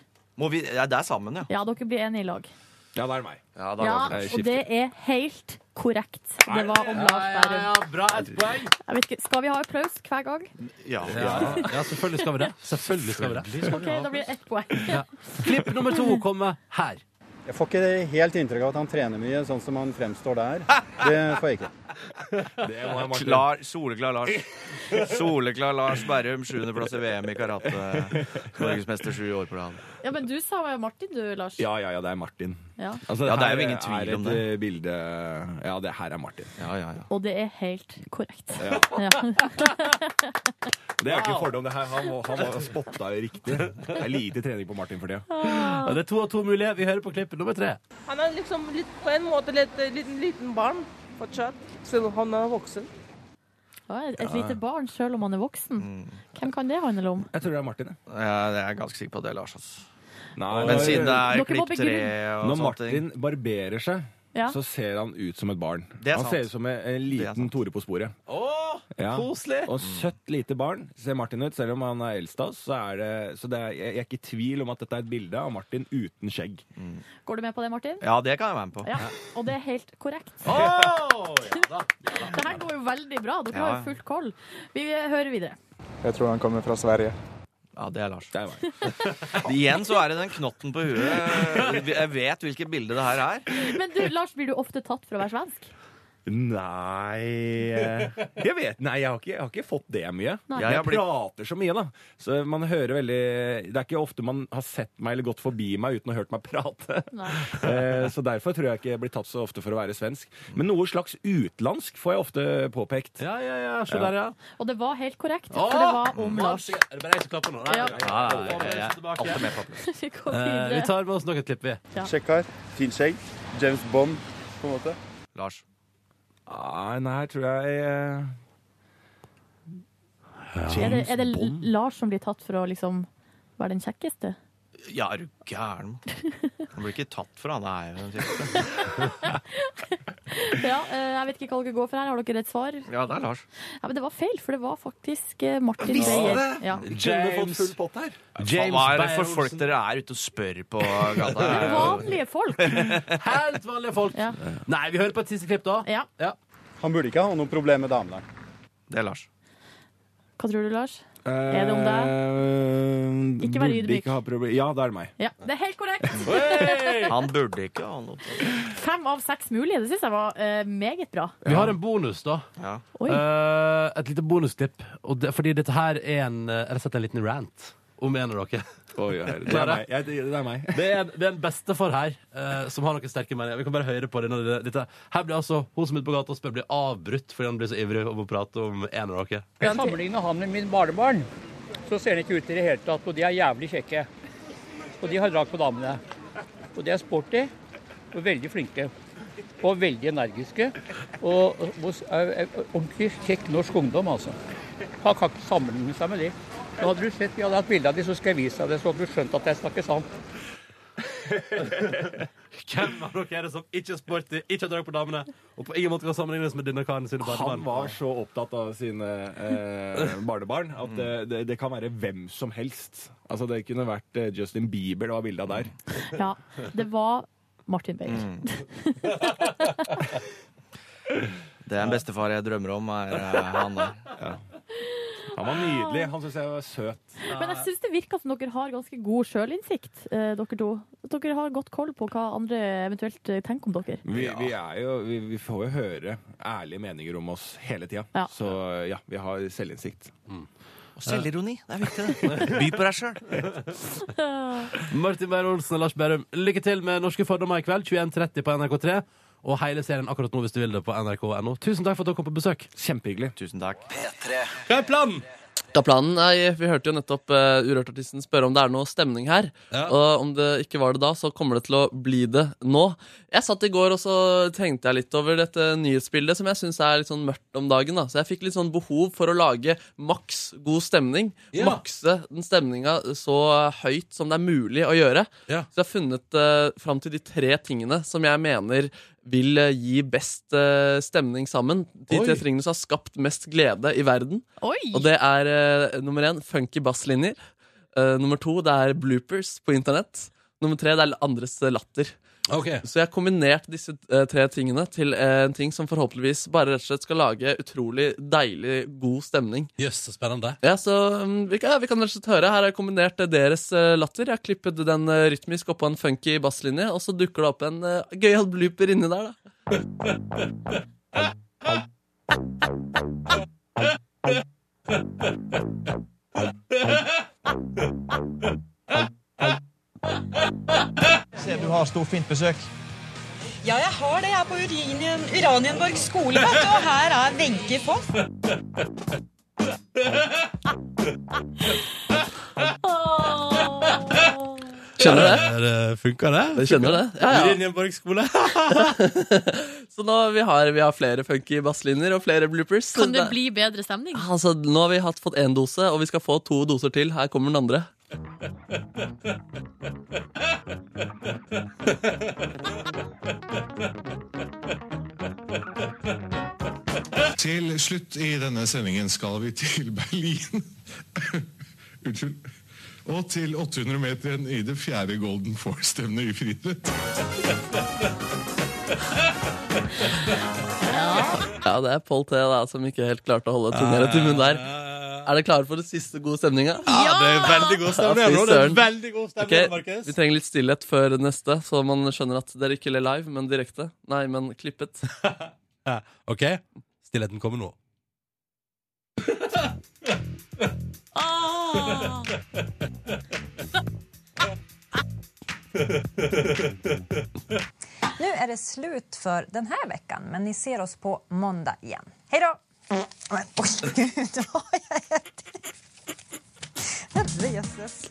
Må vi, ja, det er sammen, ja. Ja, dere blir enige i lag. Ja, det er meg. Ja, da Ja, var det. og det er helt korrekt. Det var om Lars Berrum. bra, et poeng. Jeg vet ikke, skal vi ha applaus hver gang? Ja. Ja. ja, selvfølgelig skal vi det. Selvfølgelig skal vi det. Ok, da blir det ett poeng. Klipp nummer to kommer her. Jeg får ikke helt inntrykk av at han trener mye, sånn som han fremstår der. Det får jeg ikke. må jeg, Martin. Klar, soleklar Lars. Soleklar Lars Berrum, sjuendeplass i VM i karate. Norgesmester sju år på rad. Ja, men du sa jo Martin, du, Lars. Ja, Altså- ja, ja, det er Martin. Ja. Ja, det er her jo ingen tvil er om et, det. eh, Bilde, ja, det her er Martin. Og det er helt korrekt. Ja. Det er ikke Wow. en fordom, det her. Han, må- han må spotta jo riktig. Det er lite trening på Martin for tida. Ja, det er to av to mulige. Vi hører på klipp nummer tre. Han er liksom litt, på en måte litt, liten, liten barn fortsatt, selv om han er voksen. Ja, Et Ja. lite barn selv om man er voksen. Mm. Hvem kan det handle om? Jeg tror det er Martin. Ja, jeg er ganske sikker på at det er Lars. Altså. Nei, Men siden det er Dere må klipp tre begrunne. og Når sånne ting Martin barberer seg, Ja. så ser han ut som et barn. Det er han sant. ser ut som en, en liten Tore på sporet. Åh, Ja. koselig! Og søtt lite barn ser Martin ut, selv om han er eldst av oss. Så, er det, så det er, jeg jeg er ikke i tvil om at dette er et bilde av Martin uten skjegg. Mm. Går du med på det, Martin? Ja, det kan jeg være med Ja, og det er helt korrekt. Det her går jo veldig bra. Dere Ja, ja. har jo fullt koll. Vi hører videre. Jeg tror han kommer fra Sverige. Ja, det er Lars. Igjen så er det den knotten på huet. Jeg vet hvilket bilde det her er. Men du, Lars, blir du ofte tatt for å være svensk? Nei eh, Jeg vet, nei, jeg har ikke, jeg har ikke fått det mye. Nei. Jeg, Jeg har blitt- prater så mye, da. Så man hører veldig Det er ikke ofte man har sett meg eller gått forbi meg uten å ha hørt meg prate. Eh, så derfor tror jeg ikke jeg blir tatt så ofte for å være svensk. Men noe slags utlandsk får jeg ofte påpekt. Ja, ja, ja, se der, ja. Og det var helt korrekt, for det var om Lars. Er det bare jeg som klapper nå? Nei, Ja. nei, Ja, nei, nei, nei. alltid med på Vi går Eh, vi videre. tar med oss noen klipp, vi. Ja. Sjekk her. Fint skjegg. James Bond, på en måte. Lars. Ah, nei, tror jeg eh, Er det, James er det Bond? L- Lars som blir tatt for å liksom være den kjekkeste? Ja, er du gæren? Han blir ikke tatt for, han er jo en type. Ja, eh, jeg vet ikke hva dere går for her. Har dere et svar? Ja, det er Lars. Ja, men det var feil, for det var faktisk eh, Martin Visste Beyer. det! Ja. Faen, Hva er det for folk dere er ute og spør på gata? Vanlige folk. Helt vanlige folk. Nei, vi hører på et siste klipp, da. Ja. Han burde ikke ha noe problem med damene. Det er Lars. Hva tror du, Lars? Er det om deg? Eh, Ikke vær burde ydmyk. ikke ha proble- Ja, da er det meg. Ja, det er helt Hey! korrekt. Han burde ikke ha noe Fem av seks mulige. Det syns jeg var eh, meget bra. Vi har en bonus, da. Oi. Eh, et lite bonustipp. Og det, fordi dette her er en eh, Eller sett en liten rant om en av dere. herre, det er Klarer? meg. Jeg- det er meg. Det er, det er en bestefar her eh, som har noen sterke meninger. Vi kan bare høre på det. Når det dette. Her blir altså hun som er ute på gata og spør, blir avbrutt fordi han blir så ivrig om å prate om en av dere. Når jeg sammenligner han med min barnebarn, så ser han ikke ut i det hele tatt. Og de er jævlig kjekke. Og de har drag på damene. Og de er sporty og veldig flinke. Og veldig energiske. Og, og, og er- er ordentlig kjekk norsk ungdom, altså. Han kan ikke sammenligne seg med de. Nå hadde du sett, Vi hadde hatt bilde av de, så skal jeg vise deg det, så hadde du skjønt at jeg snakker sant. Hvem av dere er det som ikke er sporty, ikke har drag på damene, og på ingen måte kan sammenlignes med denne karen sine Han barnebarn? var så opptatt av sine eh, barnebarn at det, det, det kan være hvem som helst. Altså Det kunne vært eh, Justin Bieber det var bilde av der. Ja, det var Martin Beyer. Mm. Det er en bestefar jeg drømmer om, er eh, han der. Han var nydelig. Han syns jeg var søt. Men jeg syns det virker som dere har ganske god sjølinnsikt, eh, dere to. Dere har godt koll på hva andre eventuelt eh, tenker om dere. Vi, vi, er jo, vi, vi får jo høre ærlige meninger om oss hele tida. Ja. Så ja, vi har selvinnsikt. Og selvironi. Det er viktig, det. By Mm. på deg sjøl. Martin Beyer-Olsen og Lars Bærum, lykke til med norske fordommer i kveld. 21.30 på NRK3. Og hele serien akkurat nå hvis du vil det på nrk.no. Tusen takk for at dere kom på besøk. Kjempehyggelig. Tusen takk. Hva er planen? Da planen, nei, Vi hørte jo nettopp eh, Urørt-artisten spørre om det er noe stemning her. Og om det ikke var det da, så kommer det til å bli det nå. Jeg satt i går og så tenkte jeg litt over dette nyhetsbildet, som jeg syns er litt sånn mørkt om dagen. da. Så jeg fikk litt sånn behov for å lage maks god stemning. Ja. Makse den stemninga så høyt som det er mulig å gjøre. Så jeg har funnet eh, fram til de tre tingene som jeg mener vil eh, gi best eh, stemning sammen. De Oi. tre tingene som har skapt mest glede i verden. Og det er eh, nummer én funky basslinjer. Eh, nummer to det er bloopers på internett. Nummer tre det er andres latter. Så jeg har kombinert disse eh, tre tingene til eh, en ting som forhåpentligvis bare rett og slett skal lage utrolig deilig, god stemning. Jøss, så spennende. Ja, så mm, vi kan, ja, vi kan rett og slett høre. Her har jeg kombinert eh, deres eh, latter. Jeg har klippet den eh, rytmisk oppå en funky basslinje, og så dukker det opp en eh, gøyal blooper inni der, da. Ser du har storfint besøk. Ja, jeg har det. Jeg er på Uranien, Uranienborg skole, vet du. Og her er Wenche Foss. Skjønner du det? Funka det? Jeg kjenner det. Ja, ja. Linjenborg skole. Så nå vi har vi har flere funky basslinjer og flere bloopers. Kan det bli bedre stemning? Altså, nå har vi hatt fått én dose, og vi skal få to doser til. Her kommer den andre. slutt i denne sendingen skal vi til Berlin. Unnskyld. Og til 800-meteren i det fjerde Golden Force-stevnet i friidrett. Ja, det er Pål T da, som ikke helt klarte å holde tunga rett i munnen der. Er dere klare for den siste gode stemninga? Ja, det er veldig god stemning, fy bro. Det er søren. veldig god stemning, Ok, Markus. Vi trenger litt stillhet før neste, så man skjønner at dere ikke ler live, men direkte. Nei, men klippet. Ja, OK? Stillheten kommer nå. Nu är det slut för den här veckan, men ni ser oss på måndag igen. Hej då! Men oj, gud, vad har jag ätit? Jesus.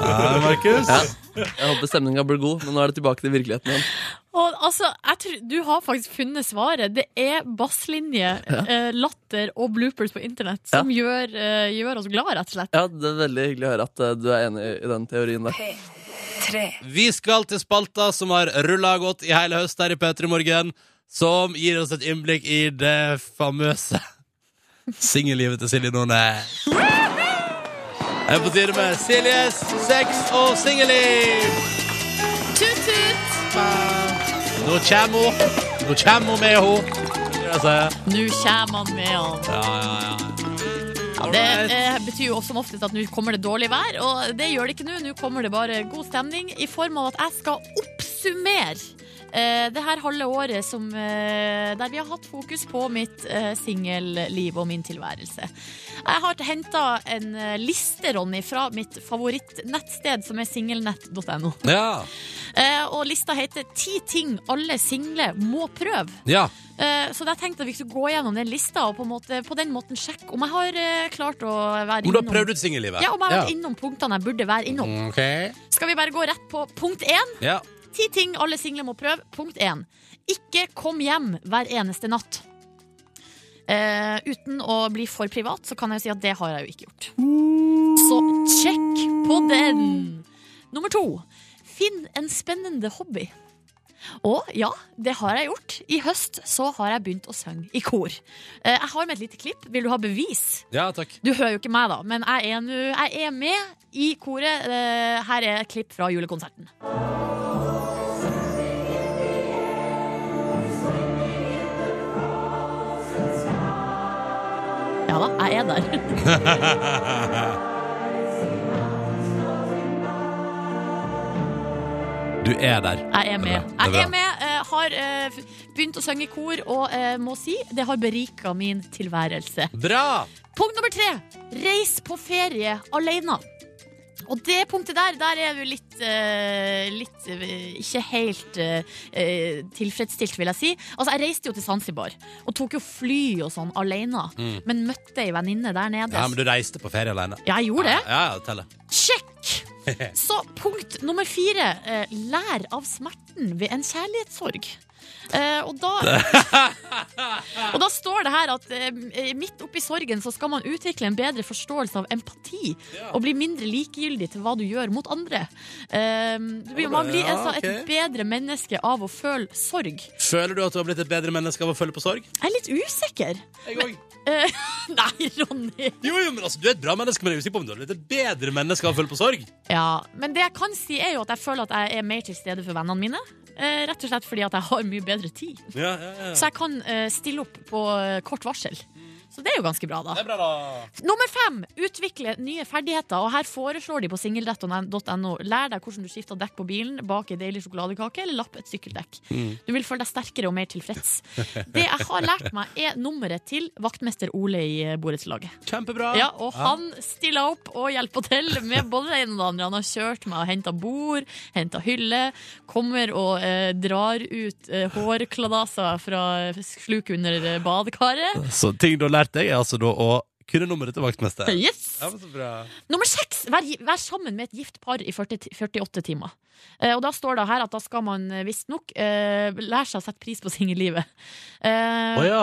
Ja, Markus? Jeg håper stemninga blir god, men nå er det tilbake til virkeligheten igjen. Og, altså, jeg tror, du har faktisk funnet svaret. Det er basslinje, Ja. eh, latter og bloopers på internett som gjør, eh, gjør oss glad, rett og slett. Ja, Det er veldig hyggelig å høre at eh, du er enig i den teorien der. Vi skal til spalta som har rulla godt i hele høst her i P3 Morgen, som gir oss et innblikk i det famøse singellivet til Silje Nordnes. Det er på tide med Siljes sex og singelliv! Tut-tut! Nå kommer hun. Nå kommer hun med henne. Nå kommer han med han. Ja, ja, ja. Ja, det eh, betyr jo som oftest at nå kommer det dårlig vær, og det gjør det ikke nå. Nå kommer det bare god stemning i form av at jeg skal oppsummere eh, det her halve året som, eh, der vi har hatt fokus på mitt eh, singelliv og min tilværelse. Jeg har henta en eh, liste, Ronny, fra mitt favorittnettsted, som er singelnett.no. Ja. Eh, og lista heter Ti ting alle single må prøve. ja. Eh, Så da tenkte jeg vi skulle gå gjennom den lista og på, en måte, på den måten sjekke om jeg har eh, klart å være Om du har prøvd ut singellivet? Ja, om jeg har Ja. vært Mm. innom punktene jeg burde være innom. OK. Skal vi bare gå rett på punkt én? Ja. Ti ting alle single må prøve. Punkt én. Ikke kom hjem hver eneste natt. Eh, uten å bli for privat, så kan jeg jo si at det har jeg jo ikke gjort. Så sjekk på den! Nummer to. Finn en spennende hobby. Og ja, det har jeg gjort. I høst så har jeg begynt å synge i kor. Eh, Jeg har med et lite klipp. Vil du ha bevis? ja, takk. Du hører jo ikke meg, da, men jeg er, nu, jeg er med i koret. Eh, Her er et klipp fra julekonserten. Ja da, jeg er der. Du er der. Jeg er Det med. bra. Det Jeg bra. er med, eh, har eh, f- begynt å synge i kor, og eh, må si det har berika min tilværelse. Bra! Punkt nummer tre. Reis på ferie alene. Og det punktet der, der er du litt, eh, litt eh, ikke helt eh, eh, tilfredsstilt, vil jeg si. Altså, jeg reiste jo til Zanzibar og tok jo fly og sånn alene, Mm. men møtte ei venninne der nede. Ja, men du reiste på ferie alene. Ja, jeg gjorde det. Ja, ja, det teller. Sjekk! Så punkt nummer fire. Eh, lær av smerten ved en kjærlighetssorg. Eh, og, da, og da står det her at eh, midt oppi sorgen så skal man utvikle en bedre forståelse av empati og bli mindre likegyldig til hva du gjør mot andre. Eh, du blir, man blir Ja, altså ok. et bedre menneske av å føle sorg. Føler du at du har blitt et bedre menneske av å følge på sorg? Jeg er litt usikker. Jeg Eh, nei, Ronny. Jo, jo, men altså, Du er et bra menneske, men jeg er usikker på om du har blitt et bedre menneske av å følge på sorg. Ja, men det jeg kan si er jo at jeg føler at jeg er mer til stede for vennene mine. Eh, rett og slett fordi at jeg har mye bedre tid. Ja, ja, ja. Så jeg kan eh, stille opp på eh, kort varsel. Så det er jo ganske bra, da. Det er bra, da. Nummer fem utvikle nye ferdigheter. Og her foreslår de på singeldett.no lær deg hvordan du skifter dekk på bilen, bak en deilig sjokoladekake eller lapp et sykkeldekk. Du vil føle deg sterkere og mer tilfreds. Det jeg har lært meg, er nummeret til vaktmester Ole i eh, borettslaget. Kjempebra. Ja, og han stilla opp og hjelper til med både det ene og det andre. Han har kjørt meg og henta bord, henta hylle. Kommer og eh, drar ut eh, hårkladaser fra sluk under eh, badekaret. Så ting du har lært deg, er altså da å kunne nummeret til vaktmester. Yes! Ja, men så bra. Nummer seks s- vær, gi- vær sammen med et gift par i 40, ti- 48 timer. Eh, og da står det her at da skal man eh, visstnok uh, lære seg å sette pris på singellivet. Eh, Å ja.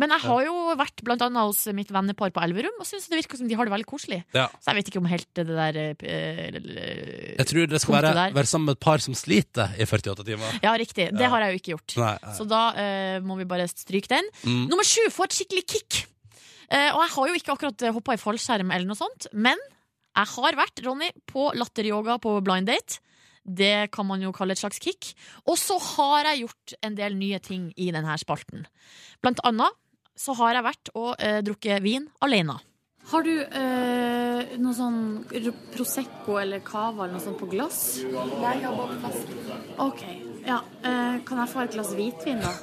Men jeg har jo vært blant annet hos mitt vennepar på Elverum, og syns det virker som de har det veldig koselig. Ja. Så jeg vet ikke om helt det der eh, p- eh, Jeg tror det skal punktet være, der. være sammen med et par som sliter i 48 timer. Ja, riktig. Det Ja. har jeg jo ikke gjort. Nei, nei. Så da eh, må vi bare stryke den. Mm. Nummer sju, få et skikkelig kick. Eh, og jeg har jo ikke akkurat hoppa i fallskjerm eller noe sånt, men jeg har vært, Ronny, på latteryoga på blind date. Det kan man jo kalle et slags kick. Og så har jeg gjort en del nye ting i denne spalten. Blant annet så har jeg vært og eh, drukket vin alene. Har du noe sånn Prosecco eller Cava eller noe sånt på glass? Jeg jobber på flaske. Ok, ja. eh, kan jeg få et glass hvitvin, da?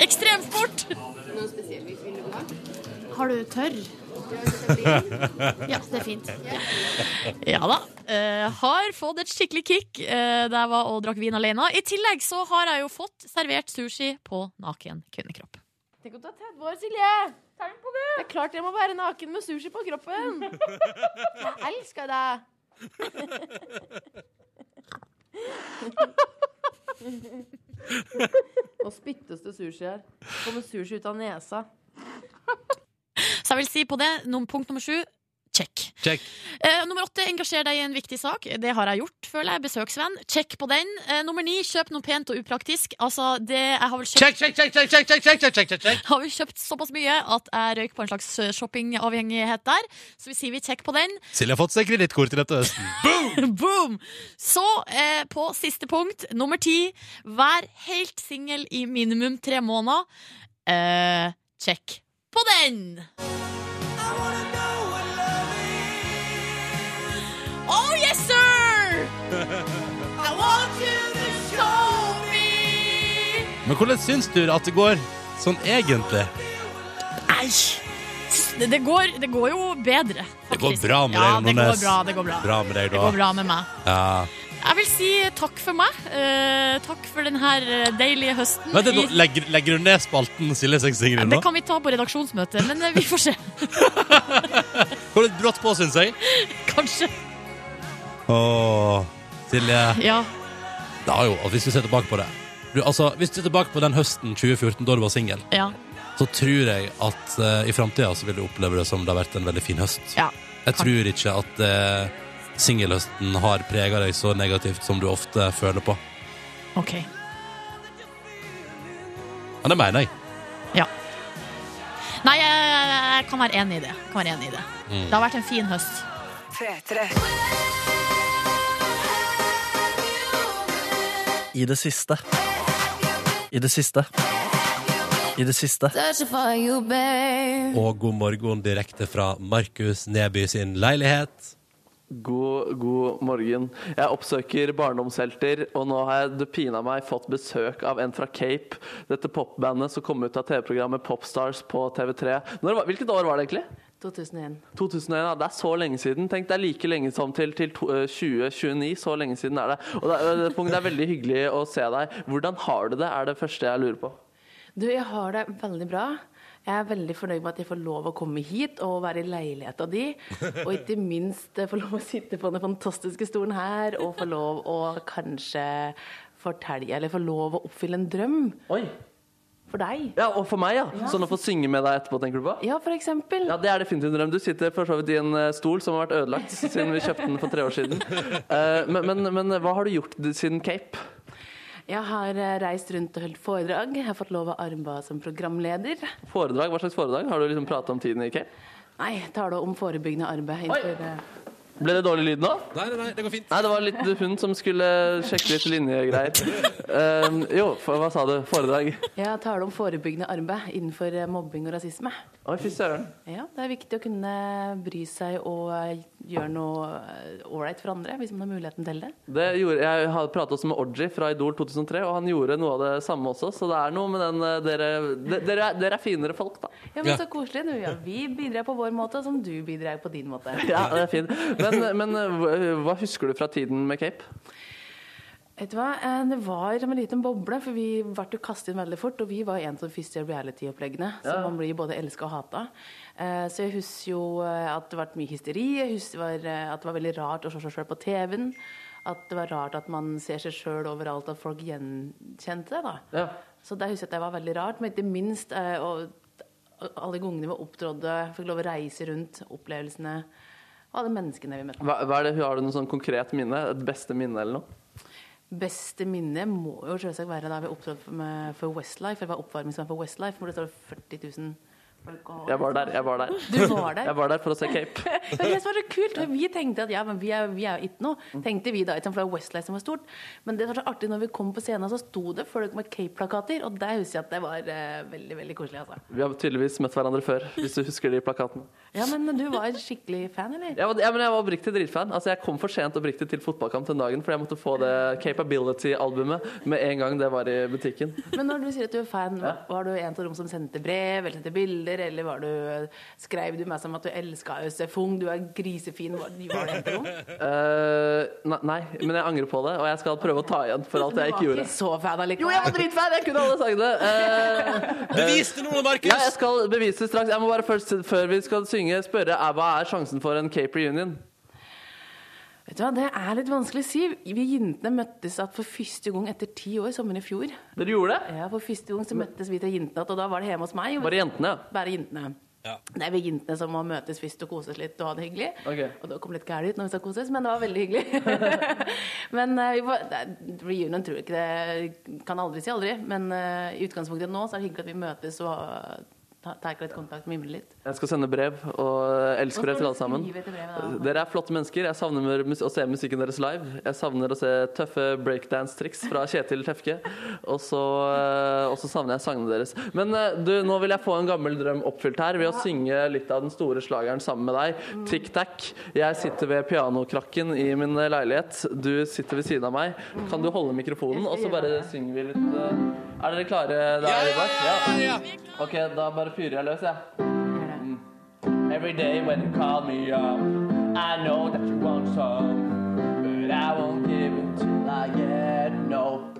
Ekstremt fort! Noen spesiell hvitvin du vil ha? Har du tørr? Ja, det er fint. Ja da. Eh, har fått et skikkelig kick eh, da jeg var og drakk vin alene. I tillegg så har jeg jo fått servert sushi på naken kvinnekropp. Tenk om du er 30 år, Silje! det! er klart jeg må være naken med sushi på kroppen. Jeg elsker deg. Nå spyttes det sushi her. Kommer sushi ut av nesa. Så jeg vil si på det, num- punkt nummer sju check. Check. Eh, nummer åtte, engasjer deg i en viktig sak. Det har jeg gjort, føler jeg. Besøksvenn. Check på den. Eh, nummer ni, kjøp noe pent og upraktisk. Altså, det jeg har vel kjøpt Check, check, check, check, check, check, check, check, check, check, check. Har vi kjøpt såpass mye at jeg røyk på en slags eh, shoppingavhengighet der. Så vi sier vi check på den. Silje har fått seg kredittkort til dette høsten. Boom! Så eh, på siste punkt, nummer ti. Vær helt singel i minimum tre måneder. Eh, check på den! Oh yes, sir! I want you to show me Men hvordan syns du at det går sånn egentlig? Æsj! Det, det, går, det går jo bedre. Det går bra med Ja, deg, det går bra. Det går bra. Bra med deg, Det da. går bra med meg. Ja. Jeg vil si takk for meg. Eh, takk for denne deilige høsten. Vent, nå I- legger, legger du ned spalten Silje seg Sigrid nå? Mm. det kan vi ta på redaksjonsmøtet, men eh, vi får se. Går litt brått på, syns jeg. Kanskje. Åh, Silje. Ja. Det har jo, at hvis du ser tilbake på det du, altså, Hvis du ser tilbake på den høsten 2014 da du var singel, Ja. så tror jeg at eh, i framtida så vil du oppleve det som det har vært en veldig fin høst. Ja. Jeg tror ikke at eh, singelhøsten har prega deg så negativt som du ofte føler på. OK. Men det mener jeg. Nei, jeg, jeg kan være enig i det. Kan være enig i det. Mm. det har vært en fin høst. I det siste. I det siste. I det siste. Og god morgen direkte fra Markus Neby sin leilighet. God, god morgen. Jeg oppsøker barndomshelter, og nå har jeg det pina meg fått besøk av en fra Cape. Dette popbandet som kom ut av TV-programmet Popstars på TV3. Når, var- hvilket år var det egentlig? 2001. 2001, ja, Det er så lenge siden. Tenk, Det er like lenge som til, til to- eh, 2029. Så lenge siden er det. Og det, er- Pung, det er veldig hyggelig å se deg. Hvordan har du det, er det første jeg lurer på. Du, jeg har det veldig bra. Jeg er veldig fornøyd med at jeg får lov å komme hit og være i leiligheta di. Og ikke minst eh, få lov å sitte på den fantastiske stolen her og få lov å kanskje fortelle Eller få lov å oppfylle en drøm. Oi. For deg. Ja, Og for meg, ja. Ja. Sånn å få synge med deg etterpå, tenker du på? Ja, for eksempel. Ja, Det er definitivt en drøm. Du sitter for så vidt i en eh, stol som har vært ødelagt siden vi kjøpte den for tre år siden. Eh, Men, men, men hva har du gjort siden Cape? Jeg har eh, reist rundt og holdt foredrag. Jeg har fått lov å arbeide som programleder. Foredrag? Hva slags foredrag? Har du liksom pratet om tiden i Cape? Nei, taler om forebyggende arbeid innenfor eh, Ble det dårlig lyd nå? Nei, nei, nei, det går fint. Nei, det var litt hun som skulle sjekke litt linjegreier. Eh, jo, for, hva sa du? Foredrag? Jeg taler om forebyggende arbeid innenfor eh, mobbing og rasisme. Oi, fy søren. Ja, det er viktig å kunne bry seg og eh, gjøre noe eh, ålreit for andre, hvis man har muligheten til det. Det gjorde, jeg har pratet også med Orji fra Idol 2003, og han gjorde noe av det samme også. Så det er noe med den eh, Dere, de- dere, er- dere er finere folk, da. Ja, men så koselig. nå. Ja, vi bidrar på vår måte, som du bidrar på din måte. Ja, det er fint. Men, men eh, hva- hva husker du fra tiden med Cape? Vet du hva? Eh, Det var som en liten boble, for vi ble jo kastet inn veldig fort. Og vi var en sånn av de første reality-oppleggene, så Ja. man blir både elska og hata. Så jeg husker jo eh, at det ble mye hysteri. Jeg husker det var, eh, at det var veldig rart å se seg sjøl på TV-en. At det var rart at man ser seg sjøl overalt, at folk gjenkjente det. da. Så der husker jeg at det var veldig rart. Men ikke minst eh, og alle gangene vi opptrådde, fikk lov å reise rundt, opplevelsene og alle menneskene vi møtte. Hva, hva er det, har du noe sånn konkret minne? Et beste minne eller noe? Beste minne må jo selvsagt være da vi opptrådte for- med- for Westlife. Eller var oppvarmingsband for Westlife, hvor det står 40 000 folk og Jeg var der. jeg var der. Du var der? Jeg var der for å se Cape. Ja, men det som var så kult, for vi tenkte at ja, men vi er, vi er jo ikke noe, tenkte vi da, ikke sant, for det var Westlife som var stort. Men det var så artig når vi kom på scenen, så sto det folk med Cape-plakater, og der husker jeg at det var eh, veldig, veldig koselig, altså. Vi har tydeligvis møtt hverandre før, hvis du husker de plakatene. Ja, men du var skikkelig fan, eller? Jeg var, ja, men jeg var oppriktig dritfan. Altså, jeg kom for sent oppriktig til fotballkamp den dagen, for jeg måtte få det Capability-albumet med en gang det var i butikken. Men når du sier at du er fan, var du en av dem som sendte brev eller sendte bilder? Eller var du, skrev du meg som at du elska Øystein Fung, du er grisefin? Var, var du en av dem? Eh, ne- nei, men jeg angrer på det, og jeg skal prøve å ta igjen for alt jeg Du ikke var gjorde. ikke så fan allikevel? Jo, jeg var dritfan! Jeg kunne alle sangene. Uh, Bevis det nå, Markus! Ja, jeg skal bevise det straks. Jeg må bare først, før vi skal synge, spørre eh, hva er sjansen for en Cape reunion? Vet du hva, Det er litt vanskelig å si. Vi jentene møttes at for første gang etter ti år, sommeren i fjor. Dere gjorde det? Ja, for første gang så møttes vi til jentene, og da var det hjemme hos meg. Bare jentene? Bare jentene. Det er vi jentene som må møtes først og koses litt og ha det hyggelig. Ok. Og det kom litt gærent ut når vi skal koses, men det var veldig hyggelig. men eh, vi var, det- reunion tror jeg ikke det Kan aldri si aldri, men eh, i utgangspunktet nå så er det hyggelig at vi møtes og eh, ta- tar litt kontakt, mimrer litt. Jeg skal sende brev og Hva skal elskbrev til du alle sammen. skrive til brevet da? Dere er flotte mennesker. Jeg savner mus- å se musikken deres live. Jeg savner å se tøffe breakdance-triks fra Kjetil Tefke. Og så eh, og så savner jeg sangene deres. Men eh, du, nå vil jeg få en gammel drøm oppfylt her ved å synge litt av den store slageren sammen med deg. Tic Tac. Jeg sitter ved pianokrakken i min leilighet. Du sitter ved siden av meg. Kan du holde mikrofonen, og så bare synger vi litt eh, Er dere klare der, Ivar? Ja. OK, da bare fyrer jeg løs, jeg. Every day when you call me up, I know that you want some, but I won't give it till I get no.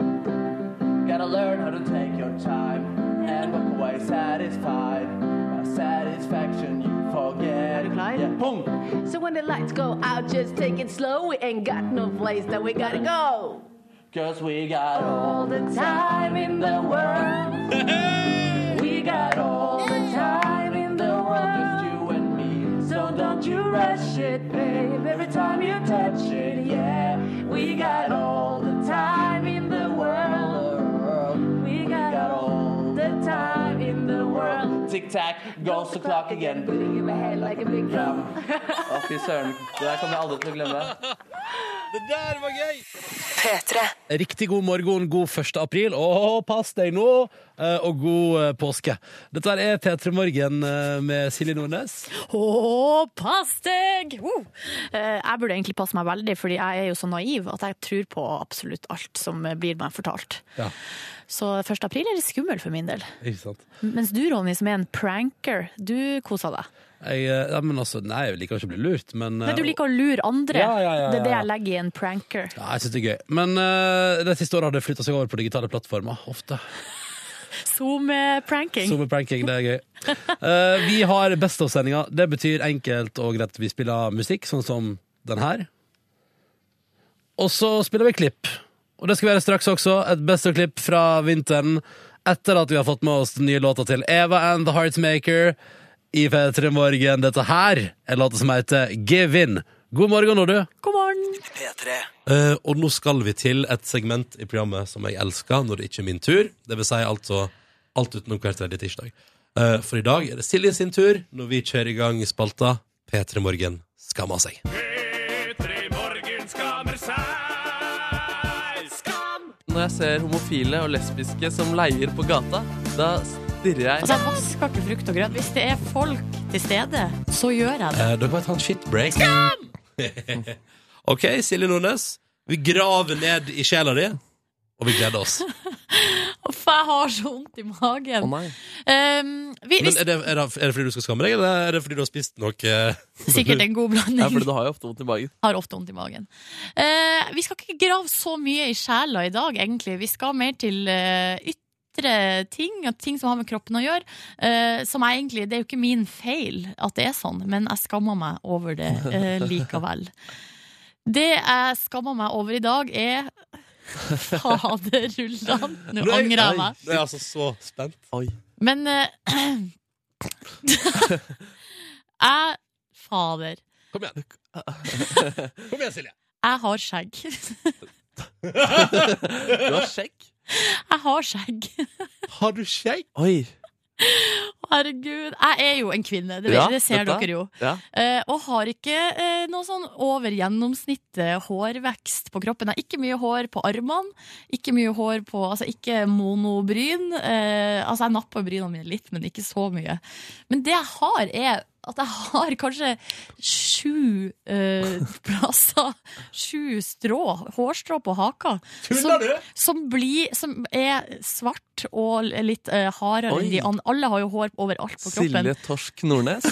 Gotta learn how to take your time and walk away satisfied. By satisfaction, you forget. Yeah, boom. So when the lights go out, just take it slow. We ain't got no place that we gotta go. Cause we got All the time in the world. we got all the time in the world. Just you and me. So don't you rush it, babe. Every time you touch it, yeah. We got all the time in the world. We got all the time in the world. Tic tac goes the clock again. Give a head like a big drum. Å, fy søren. Det der kommer jeg aldri til å glemme. Det der var gøy! Riktig god morgen, god 1. april, og pass deg nå, eh, og god eh, påske. Dette her er P3 Morgen eh, med Silje Nordnes. Å, pass deg! Wow. Eh, Jeg burde egentlig passe meg veldig, fordi jeg er jo så naiv at jeg tror på absolutt alt som blir meg fortalt. Ja, Så 1. april er litt skummel for min del. ikke sant? Mens du, Ronny, som er en pranker, du koser deg. Jeg, eh, ja, men altså, nei, jeg liker ikke å bli lurt, men eh, Nei, du liker å lure andre. Ja, ja, ja, Det er det ja. jeg legger i en pranker. Ja, jeg synes det er gøy. Men eh, det siste året har det flyttet seg over på digitale plattformer, ofte. Zoom-pranking. Zoom-pranking, det er gøy. Eh, vi har Best of-sendinga. Det betyr enkelt og greit at vi spiller musikk, sånn som den her. Og så spiller vi klipp. Og det skal vi gjøre straks også. Et Best of-klipp fra vinteren etter at vi har fått med oss den nye låta til Eva and The Heartmaker i P3 Morgen. Dette her er låta som heter Give In. God morgen, Nordu. God morgen! Eh, og nå skal vi til et segment i programmet som jeg elsker når det ikke er min tur. Det vil si altså alt utenom hver tredje tirsdag. Eh, for i dag er det Silje sin tur når vi kjører i gang spalta P3 Morgen skammer seg. Morgen skammer seg. Skam! Når jeg ser homofile og lesbiske som leier på gata, da stirrer jeg Altså, jeg vasker ikke frukt og grønt. Hvis det er folk til stede, så gjør jeg det. Eh, dere må ta en shitbreak. ok, Silje Nordnes. Vi graver ned i sjela di. Og vi gleder oss. Uff, jeg har så vondt i magen. Å, nei. Ehm, vi, Men hvis, er det, er, det, er det fordi du skal skamme deg, eller er det fordi du har spist noe eh? Sikkert en god blanding. Ja, fordi du har jo ofte vondt i magen. har ofte vondt i magen. Eh, vi skal ikke grave så mye i sjela i dag, egentlig. Vi skal mer til eh, ytre ting, og ting som har med kroppen å gjøre. eh, som jeg egentlig, Det er jo ikke min feil at det er sånn, men jeg skammer meg over det eh, likevel. Det jeg skammer meg over i dag, er Faderullan! Nå angrer jeg meg. Nå er jeg altså så spent. Men eh, Jeg Fader. Kom igjen. Kom igjen, Silje. Jeg har skjegg. Du har skjegg? Jeg har skjegg. Har du skjegg? Oi. Herregud. Jeg er jo en kvinne, det, Ja, det ser dette. dere jo. Ja. Eh, og har ikke eh, noe sånn over gjennomsnittet hårvekst på kroppen. Jeg har ikke mye hår på armene, ikke mye hår på Altså ikke monobryn. Eh, altså jeg napper brynene mine litt, men ikke så mye. Men det jeg har, er at jeg har kanskje sju eh, plasser, sju strå, hårstrå på haka, som, som, blir, som er svart og litt eh, hardere Oi. enn de andre. Alle har jo hår overalt på kroppen. Silje Torsk Nordnes.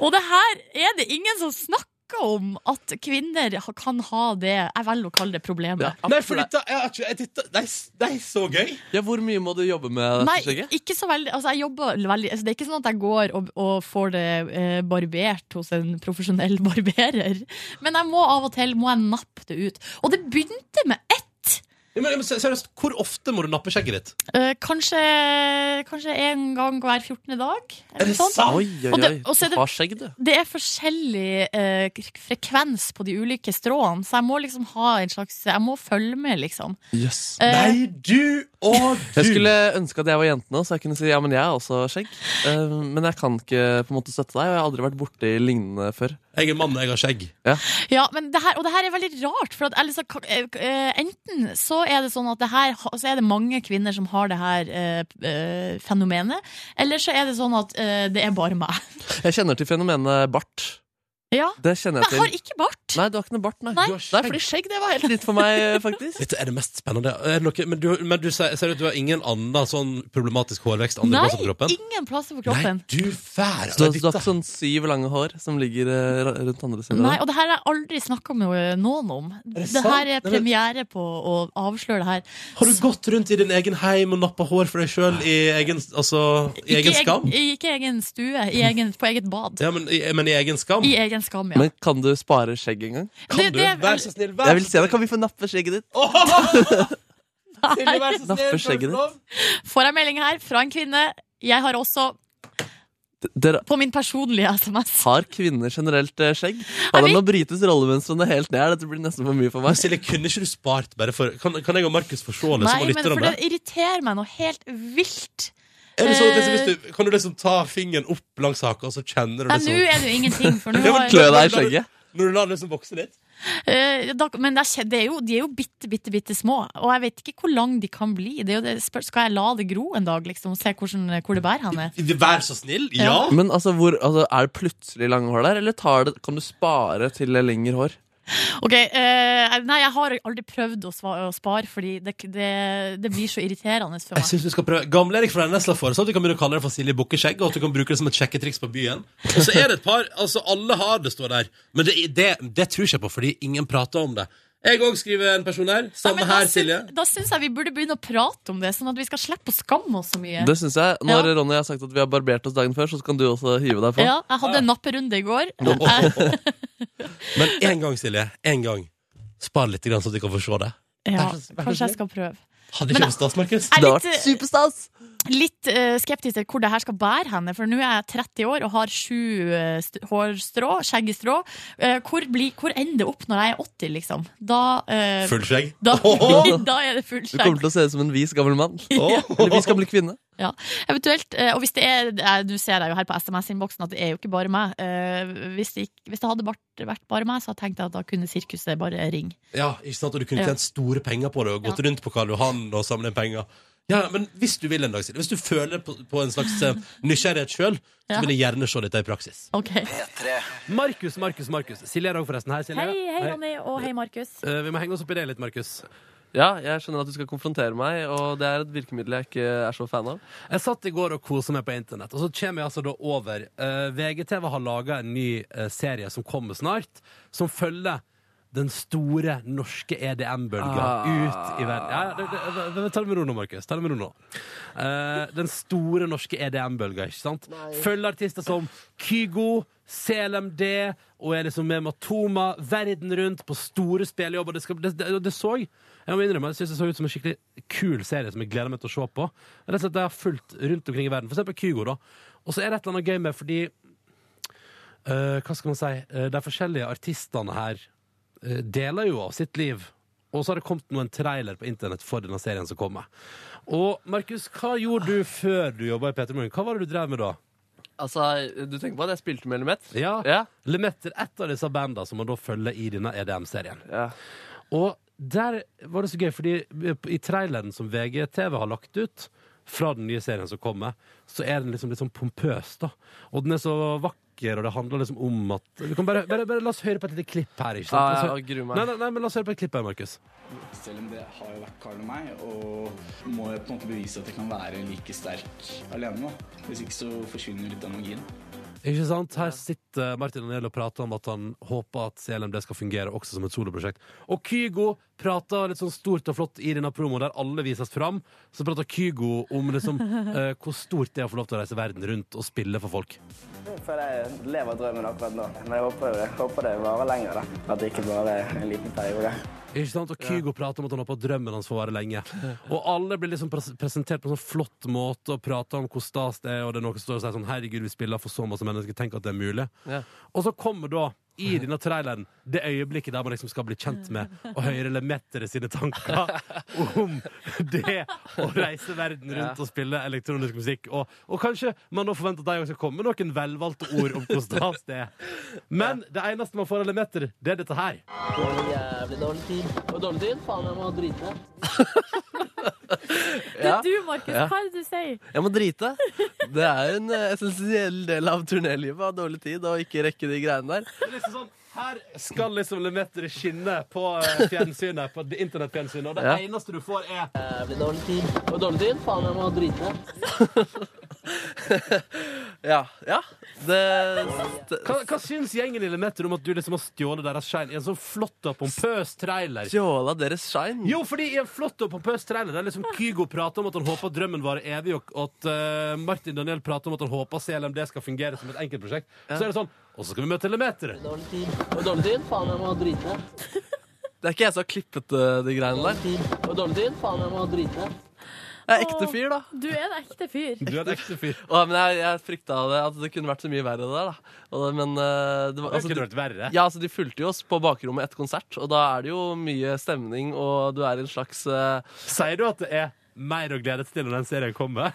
Og det her er det ingen som snakker om at kvinner ha- kan ha det Jeg velger å kalle det problemet. Nei, så gøy! Ja, Hvor mye må du jobbe med Nei, dette skjegget? ikke så veldig, altså jeg jobber veldig altså Det er ikke sånn at jeg går og, og får det eh, barbert hos en profesjonell barberer. Men jeg må av og til må jeg nappe det ut. Og det begynte med ett! Men, men seriøst, hvor ofte må du nappe skjegget ditt? Eh, kanskje, kanskje en gang hver 14. dag. eller noe sånt. Oi, oi, Og oi. det, og så er Du det, har skjegg, du. det er forskjellig eh, k- frekvens på de ulike stråene, så jeg må liksom ha en slags Jeg må følge med, liksom. Yes. Eh, Nei, du og du! Jeg skulle ønske at jeg var jente nå, så jeg kunne si ja, men jeg har også skjegg. Eh, Men jeg kan ikke på en måte støtte deg, og jeg har aldri vært borti lignende før. Jeg er mann, jeg har skjegg. Ja. Ja, men det her, og det her er veldig rart, for at, eller så kan- eh, eh, enten så er det sånn at det her, ha- så er det mange kvinner som har det her eh, eh, fenomenet, eller så er det sånn at eh, det er bare meg. Jeg kjenner til fenomenet bart. Ja. Det kjenner Men jeg jeg til. har ikke bart. Nei, du har ikke noe bart, nei. Nei. Du har skjegg. fordi skjegg det var helt nytt for meg, eh, faktisk. Dette er det mest spennende. Er det noe, men du, men du sier sier du at du har ingen annen sånn problematisk hårvekst andre Nei, plasser på kroppen? ingen plasser på kroppen. Du fær! Så du har- du har ikke sånn syv lange hår som ligger eh, ra- rundt andre siden? av Nei, deg? og det her har jeg aldri snakka med eh, noen om. det Det, sant? her er Nei, men- premiere på å avsløre det her. Har du gått rundt i din egen heim og nappa hår for deg sjøl i egen, altså, i egen Ikke skam? eg- Ikke i egen stue, i egen, på eget bad. Ja, men, i- men i egen skam? I egen skam, ja. Men kan du spare skjegg en gang? Kan Det- du? det- Vær så snill, Jeg vil se deg. Kan vi få nappe skjegget ditt? Nei. vær så snill, Napper skjegget kan du få ditt. lov? Får jeg melding her fra en kvinne. Jeg har også Dere på min personlige SMS. har kvinner generelt eh, skjegg. Ja, det må brytes rollemønstrene helt ned. Dette blir nesten for mye for meg. Silje, kunne ikke du spart bare for Kan, kan jeg og Markus få se liksom, Nei, og men lytte om for det? det irriterer meg noe helt vilt. Er det sånn at Eh, liksom, hvis du, kan du liksom ta fingeren opp langs haka, og så kjenner du Nei, liksom nå er det jo ingenting, for nå Ja, men har- klø deg i skjegget. Når du lar det liksom vokse litt? Eh, da, men det er, kje- det er jo, de er jo bitte, bitte, bitte små, og jeg vet ikke hvor lang de kan bli. Det er jo det, spør, skal jeg la det gro en dag, liksom, og se hvordan, hvor det bærer henne? Vær så snill, Ja. Men altså, hvor, altså, er det plutselig lange hår der, eller tar det, kan du spare til lengre hår? Ok, eh, Nei, jeg har aldri prøvd å, sva, å spare, fordi det, det, det blir så irriterende for Jeg meg. synes du skal prøve Gamle-Erik fra Nesla foreslår at du kan begynne å kalle det for Silje Bukkeskjegg, og at du kan bruke det som et sjekketriks på byen. Og så er det et par Altså, alle har det, står der. Men det, det, det tror ikke jeg på, fordi ingen prater om det. Jeg òg skriver en person her. Samme her, Silje. Da syns jeg vi burde begynne å prate om det, sånn at vi skal slippe å skamme oss så mye. Det synes jeg. Når Ja. Ronny har sagt at vi har barbert oss dagen før, så kan du også hive deg på. Ja, jeg hadde en napperunde i går. Nå- Jeg, Men én gang, Silje. Én gang. Spar litt, grann, så at de kan få se det. ja, kanskje jeg skal prøve. Hadde ikke vært stas, Markus? Jeg er litt, eh, Litt eh, skeptisk til hvor det her skal bære henne, for nå er jeg 30 år og har sju eh, st hårstrå, skjeggestrå. Eh, hvor, blir- hvor ender det opp når jeg er 80, liksom? Da eh, Full skjegg? Da, Åhå! da er det full Du kommer skjegg. til å se ut som en vis gammel mann. Ja. Eller vis gammel kvinne. Ja, eventuelt. eh, og hvis det er eh, Du ser jeg jo her på SMS-innboksen at det er jo ikke bare meg. Eh, hvis, det ikke, hvis det hadde vært, vært bare meg, så hadde jeg tenkt at da kunne sirkuset bare ringe. Ja, ikke sant? Og du kunne Ja. tjent store penger på det og gått Ja. rundt på Karl Johan og samlet inn penger. Ja, men hvis du vil en dag, Silje, hvis du føler på, på en slags eh, nysgjerrighet sjøl, så Ja. vil jeg gjerne se dette i praksis. Markus, Markus, Markus. Silje er òg forresten her. Silje. Hei, hei, Ronny, og hei, Markus. Eh, vi må henge oss opp i det litt, Markus. Ja, jeg skjønner at du skal konfrontere meg, og det er et virkemiddel jeg ikke er så fan av. Jeg satt i går og kosa meg på internett, og så kommer jeg altså da over eh, VGTV har laga en ny eh, serie som kommer snart, som følger den store norske EDM-bølga Ah. ut i verden. Ja, ja, det, det, det, ta det med ro nå, Markus. Ta det med ro nå. Eh, den store norske EDM-bølga, ikke sant? Følger artister som Kygo, CLMD og er liksom med Matoma verden rundt på store spillejobber. Det, skal, det, det, det så jeg. Jeg må innrømme, jeg synes det så ut som en skikkelig kul serie som jeg gleder meg til å se på. Rett og slett, Det har fulgt rundt omkring i verden. For eksempel Kygo, da. Og så er det et eller annet gøy med, fordi Eh, hva skal man si, Eh, de forskjellige artistene her eh, deler jo av sitt liv. Og så har det kommet noen trailer på internett for denne serien som kommer. Og Markus, hva gjorde du før du jobba i P3 Morgen? Hva var det du drev med da? Altså, Du tenker på at jeg spilte med Lemet? Ja. Lemet er et av disse bandene som man da følger i denne EDM-serien. Og der var det så gøy, fordi i traileren som VGTV har lagt ut, fra den nye serien som kommer, så er den liksom litt sånn pompøs, da. Og den er så vakker, og det handler liksom om at Vi kan bare, bare, bare La oss høre på et lite klipp her, ikke sant? Ah, ja, La oss jeg høre- gruer meg. Nei, nei, nei, men la oss høre på et klipp her, Markus. Selv om det har jo vært Carl og meg, og må jeg på en måte bevise at jeg kan være like sterk alene. da. Hvis ikke så forsvinner litt av magien. Ikke sant? Her sitter Martin Daniel og prater om at han håper at CLMD skal fungere også som et soloprosjekt. Og Kygo prater litt sånn stort og flott i denne promoen der alle vises fram. Så prater Kygo om liksom, eh, hvor stort det er å få lov til å reise verden rundt og spille for folk. For jeg lever drømmen akkurat nå. Men jeg håper, jeg håper det varer lenger, da. At det ikke bare er en liten periode. Ikke sant? Og Kygo prater om at han håper at drømmen hans får vare lenge. Og alle blir liksom pres presentert på en sånn flott måte og prater om hvor stas det er, og det er noen som står og sier sånn Herregud, vi spiller for så masse mennesker, tenk at det er mulig. Ja. Og så kommer da, i denne traileren, det øyeblikket der man liksom skal bli kjent med og høre Lemettere sine tanker om det å reise verden rundt og spille elektronisk musikk. Og, og kanskje man nå forventer at de også skal komme med noen velvalgte ord om hvor stas det er. Men det eneste man får av Lemetter, det er dette her. Jævlig dårlig tid. Og dårlig tid? Faen, jeg må drite. Men du, Markus, hva er det du sier? Jeg må drite. Det er en eh, essensiell del av turnélivet å ha dårlig tid og ikke rekke de greiene der. Liksom sånn, her skal liksom Lemetter skinne på eh, fjernsynet, på det- internettfjernsynet, og det Ja. eneste du får, er Jævlig dårlig tid. Og dårlig tid? Faen, jeg må drite. Ja. hva, hva syns gjengen i Lemetter om at du liksom har stjålet deres shine i en sånn flott og pompøs trailer? Stjåla deres shine? Jo, fordi i en flott og pompøs trailer der liksom Kygo prater om at han håper drømmen varer evig, og at eh, Martin Daniel prater om at han håper CLMD skal fungere som et enkeltprosjekt, Ja. så er det sånn Og så skal vi møte Lemetter! Dårlig tid. Og dårlig tid? Faen, jeg må drite. Det er ikke jeg som har klippet eh, de greiene Dårlig der. tid. Og dårlig tid? Faen, jeg må drite. Jeg er ekte fyr, da. Du er en ekte fyr. Du er en ekte fyr. Å, men jeg, jeg frykta det, at det kunne vært så mye verre det der, da. Og, det- men eh, det, var- Det kunne de- vært verre. Ja, altså, de fulgte jo oss på bakrommet etter konsert, og da er det jo mye stemning, og du er i en slags eh, Sier du at det er mer å glede seg til når den serien kommer?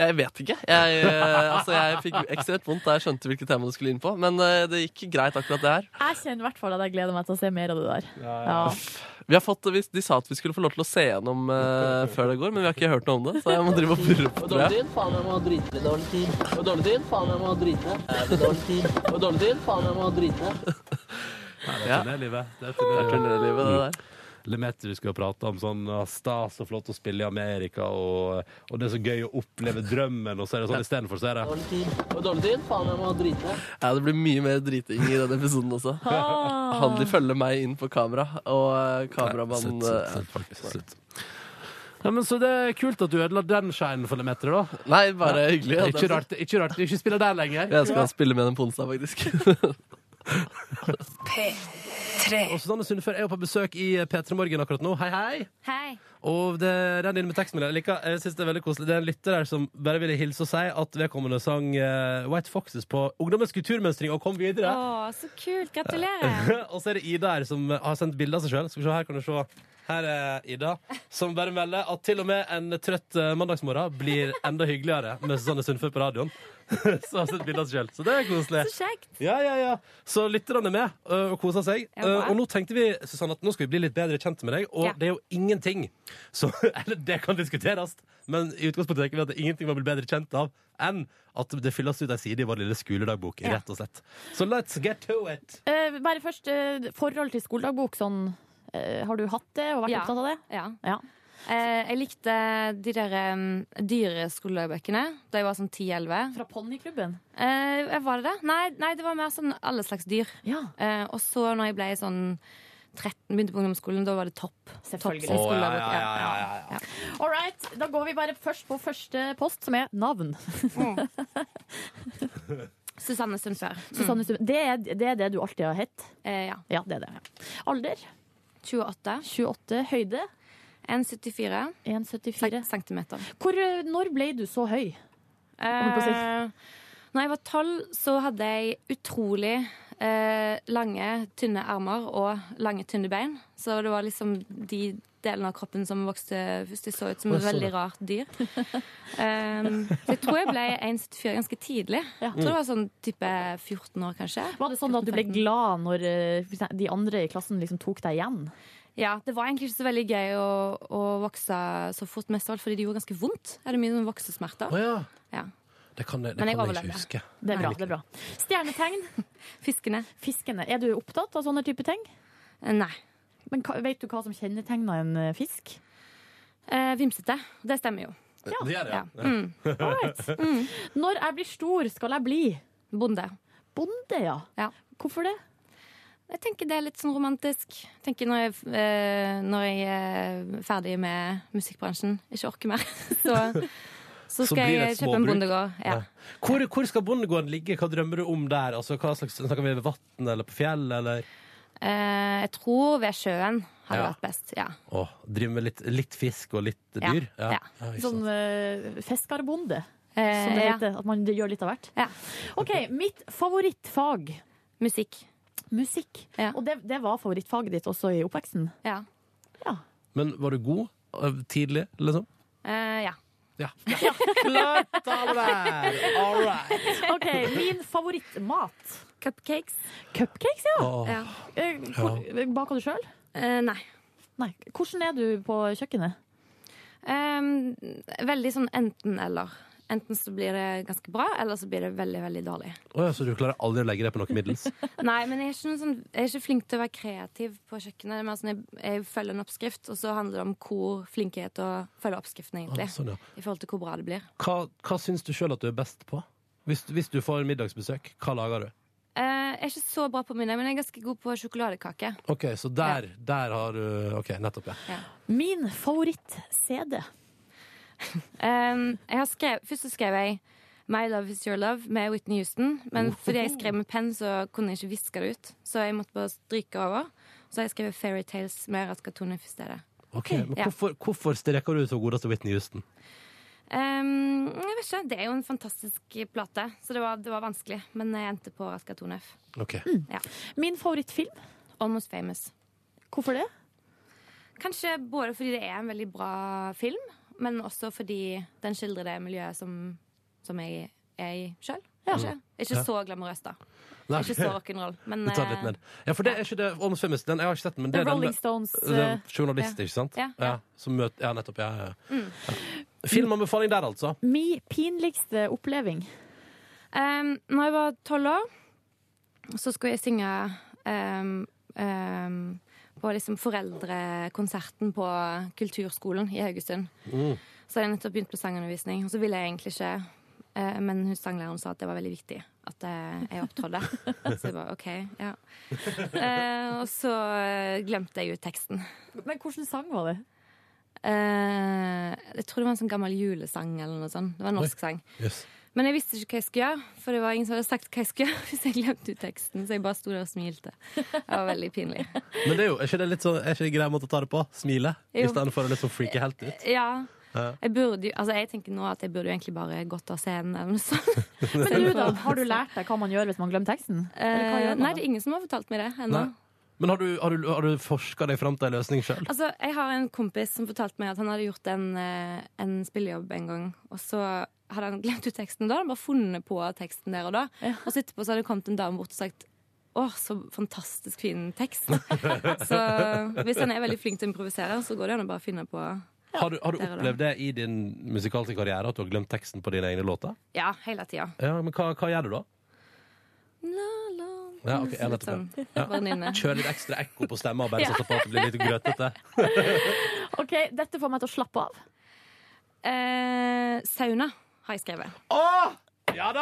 Jeg vet ikke. Jeg, eh, altså, jeg fikk ekstremt vondt da jeg skjønte hvilket tema du skulle inn på, men eh, det gikk greit akkurat det her. Jeg kjenner i hvert fall at jeg gleder meg til å se mer av det der. Ja. Vi har fått, vi- de sa at vi skulle få lov til å se gjennom eh, før det går, men vi har ikke hørt noe om det, så jeg må drive og purre på Og tror dårlig jeg. tid? Faen, jeg må drite. Dårlig tid. Og dårlig tid? Faen, jeg må drite. Jævlig dårlig tid. Og dårlig tid? Faen, jeg må drite. Det Ja. er turnélivet. Det er turnélivet, det Mm. der. Lemeter, du skulle jo prate om sånn ah, stas og flott å spille i Amerika, og, og det er så gøy å oppleve drømmen, og så er det sånn istedenfor, så er det Dårlig tid. Og dårlig tid? Faen, jeg må drite. Ja, det blir mye mer driting i denne episoden også. Ah. Han vil følge meg inn på kamera, og eh, kameramannen Slutt, slutt, eh, slutt, faktisk. Slutt. Ja, men Så det er kult at du ødela den shinen for Lemeter, da. Nei, bare Ja. hyggelig. at Ikke jeg- rart, ikke rart du ikke spiller der lenger. Jeg skal spille med den på onsdag, faktisk. P3. Og Susanne Sundfør er jo på besøk i P3 Morgen akkurat nå. Hei, hei. Hei. Og det renner inn med tekstmelding. Jeg liker- Jeg synes det er veldig koselig. Det er en lytter her som bare ville hilse og si at vedkommende sang eh, White Foxes på Ungdommens kulturmønstring og kom videre. Å, så kult. Gratulerer. og så er det Ida her som eh, har sendt bilde av seg sjøl. Skal vi se, her kan du se. Her er Ida, som bare melder at til og med en trøtt eh, mandagsmorgen blir enda hyggeligere med Susanne Sundfør på radioen. så har hun sendt bilde av seg sjøl. Så det er koselig. Så kjekt. Ja, ja, ja. Så lytterne er med ø, og koser seg. Ja, bra. Ø, Og nå tenkte vi Susanne, at nå skal vi bli litt bedre kjent med deg, og Ja. det er jo ingenting som Eller det kan diskuteres, men i utgangspunktet tenker vi at det er ingenting man blir bedre kjent av enn at det fylles ut ei side i vår lille skoledagbok, Ja. rett og slett. Så let's get to it. Eh, bare først eh, forhold til skoledagbok, sånn Eh, Har du hatt det og vært Ja. opptatt av det? Ja. Ja. Eh, jeg likte de der um, dyreskolebøkene da jeg var sånn 10-11. Fra ponniklubben? Eh, var det det? Nei, nei, det var mer sånn alle slags dyr. Eh, og så når jeg ble sånn 13, begynte på ungdomsskolen, da var det topp. Selvfølgelig. Topp Å, ja, ja, skolebøker, ja, ja, All right, da går vi bare først på første post, som er navn. Susanne Sundfør. Mm. Eh, Susanne Stum- det, er, det er det du alltid har hett? ja. Ja, det er det. Alder? 28. 28. Høyde? 1,74. 1,74 centimeter. Hvor, eh, når ble du så høy? holdt på å si. Eh, når jeg var tolv, så hadde jeg utrolig eh, lange, tynne armer og lange, tynne bein. Så det var liksom de delene av kroppen som vokste først. Jeg så ut som Å, et jeg så veldig det. rart dyr. Um, så jeg tror jeg ble 1,74 ganske tidlig. Jeg tror det var sånn type 14 år, kanskje. Var det sånn at du ble glad når eh, for eksempel de andre i klassen liksom tok deg igjen? Ja, det var egentlig ikke så veldig gøy å, å vokse så fort, mest av alt fordi det gjorde ganske vondt. Jeg hadde mye sånn voksesmerter. Å, ja. Det kan jeg, det Men jeg kan jeg overlevde. ikke huske. Det er bra. det er bra. Stjernetegn? Fiskene. Eh, Fiskene. Er du opptatt av sånne type ting? Nei. Men hva- vet du hva som kjennetegner en eh, fisk? Eh, vimsete. Det stemmer jo. Ja. Det gjør det, ja. Ja. Mm. All right. Når jeg blir stor, skal jeg bli? Bonde. Bonde, ja. Hvorfor det? Jeg tenker det er litt sånn romantisk. Jeg tenker når jeg, eh, når jeg er ferdig med musikkbransjen, ikke orker mer, så, så Så skal blir det jeg et kjøpe en småbruk. bondegård. Ja. Ja. Hvor, hvor skal bondegården ligge? Hva drømmer du om der? Altså, hva slags, snakker vi ved vann eller på fjell? Eller? Eh, jeg tror ved sjøen hadde Ja. vært best. Ja. Å, driver med litt, litt fisk og litt Ja, dyr? ja. ikke sant. Sånn eh, fiskerbonde, Eh, som det ja. heter. At man gjør litt av hvert. OK, mitt favorittfag. Musikk. Musikk. Og det, det var favorittfaget ditt også i oppveksten? Ja. Men var du god eh, tidlig, liksom? Eh, ja. Ja. Klart av det! All OK, min favorittmat. Cupcakes. Cupcakes, ja. Åh. Ja. Eh, hvor- Baker du sjøl? Eh, nei. nei. Hvordan er du på kjøkkenet? Ehm, veldig sånn enten-eller. Enten så blir det ganske bra, eller så blir det veldig, veldig dårlig. Å ja, så du klarer aldri å legge deg på noe middels? Nei, men jeg er, ikke noen sånn, jeg er ikke flink til å være kreativ på kjøkkenet. Det er mer sånn, jeg, jeg følger en oppskrift, og så handler det om hvor flink jeg er til å følge oppskriften, egentlig. Ah, sånn, ja. I forhold til hvor bra det blir. Hva, hva syns du sjøl at du er best på? Hvis, hvis du får middagsbesøk, hva lager du? Eh, jeg er ikke så bra på middag, men jeg er ganske god på sjokoladekake. OK, så der, der har du OK, nettopp, ja. Min favoritt-CD. Ehm, jeg har skrevet, først så skrev jeg My Love Is Your Love med Whitney Houston. Men fordi jeg skrev med penn, så kunne jeg ikke viske det ut. Så jeg måtte bare stryke over. Så har jeg skrevet Fairy Tales med Raska Tone i stedet. Ok, men Ja. hvorfor, hvorfor streker du ut hun godeste Whitney Houston? Ehm, jeg vet ikke, Det er jo en fantastisk plate, så det var, det var vanskelig. Men jeg endte på Raska Tonef. Ok. Ja. Mm. Min favorittfilm? Almost Famous. Hvorfor det? Kanskje både fordi det er en veldig bra film, men også fordi den skildrer det miljøet som, som jeg er i sjøl. Kanskje. Mm. Ikke Ja. så glamorøst, da. Nei. Ikke så rock'n'roll. Men eh, Du tar det litt ned. Ja, for det er ikke det Almost Famous. Den, jeg har ikke sett den, men det The er den Rolling med- Stones, den eh, Journalist, ja. ikke sant? Ja, ja. som møter, ja nettopp. Ja, ja. mm. ja. Filmanbefaling der, altså. Min pinligste oppleving. Um, når jeg var tolv år, så skulle jeg synge um, um, på liksom foreldrekonserten på kulturskolen i Haugesund. Mm. Så hadde jeg nettopp begynt på sangundervisning, og så ville jeg egentlig ikke eh, men hun sanglæreren sa at det var veldig viktig at eh, jeg opptrådde. Så jeg bare OK, ja. Eh, og så eh, glemte jeg jo teksten. Men hvilken sang var det? Eh, jeg tror det var en sånn gammel julesang eller noe sånt. Det var en norsk sang. Men jeg visste ikke hva jeg skulle gjøre, for det var ingen som hadde sagt hva jeg skulle gjøre hvis jeg glemte ut teksten, så jeg bare sto der og smilte. Det var veldig pinlig. Men det er jo er ikke det litt sånn, er ikke det en grei måte å ta det på? Smile? Jo. Istedenfor å liksom freake helt ut? Ja. Ja. Jeg burde jo Altså, jeg tenker nå at jeg burde jo egentlig bare gått av scenen eller noe sånt. Men du da, har du lært deg hva man gjør hvis man glemmer teksten? Eller hva sånn. Eh, gjør nei, man det da? er ingen som har fortalt meg det ennå. Nei. Men har du, har du, har du forska deg fram til en løsning sjøl? Altså, jeg har en kompis som fortalte meg at han hadde gjort en, eh, en spillejobb en gang, og så hadde han glemt ut teksten da, han bare funnet på teksten der og da, og så etterpå så hadde det kommet en dame bort og sagt Åh, så fantastisk fin tekst. så eh, hvis han er veldig flink til å improvisere, så går det an å bare finne på Har du, har du der og da. opplevd det i din musikalske karriere, at du har glemt teksten på dine egne låter? Ja, hele tida. Ja, men hva, hva gjør du da? La, la, Ja, ok, ja, Litt nettopp. sånn Ja. venninne. Kjør litt ekstra ekko på stemma, bare Ja. satse på at det blir litt grøtete. OK, dette får meg til å slappe av. Eh, sauna har jeg skrevet. Ja da! Ja.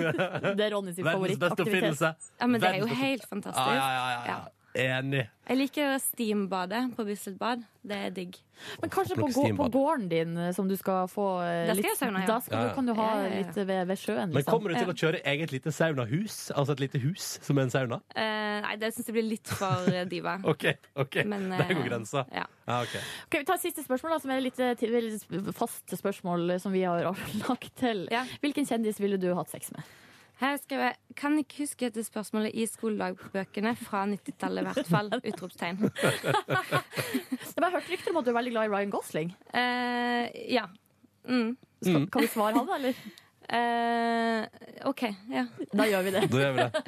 Det er Ronny sin Verdens beste oppfinnelse. Ja, men det er jo Verdens beste- helt fantastisk. Ja, ja, ja, ja, ja. Enig. Jeg liker å steambade på Bislett bad. Det er digg. Men kanskje på, gå- på gården din, eh, som du skal få eh, Da skal litt jeg sauna, ja. Da skal, Ja, du- ja. kan du ha Ja, ja, ja. litt ved, ved sjøen. Men liksom. kommer du til å kjøre eget lite saunahus? Altså et lite hus som er en sauna? Eh, nei, det syns jeg blir litt for eh, diva. OK, ok, Men, der går eh, grensa. ja. ok. Ok, Vi tar et siste spørsmål, da, som er litt, eh, til- veldig sp- fast spørsmål eh, som vi har lagt til. Hvilken kjendis ville du hatt sex med? Her skrev jeg Kan ikke huske dette spørsmålet i skoledagbøkene fra 90-tallet, i hvert fall. Utropstegn. Jeg bare hørte rykter om at du er veldig glad i Ryan Gosling. Eh, ja. Mm. Skal- kan vi svare han, eller? Eh, OK. Ja. Da gjør vi det. Da gjør vi det.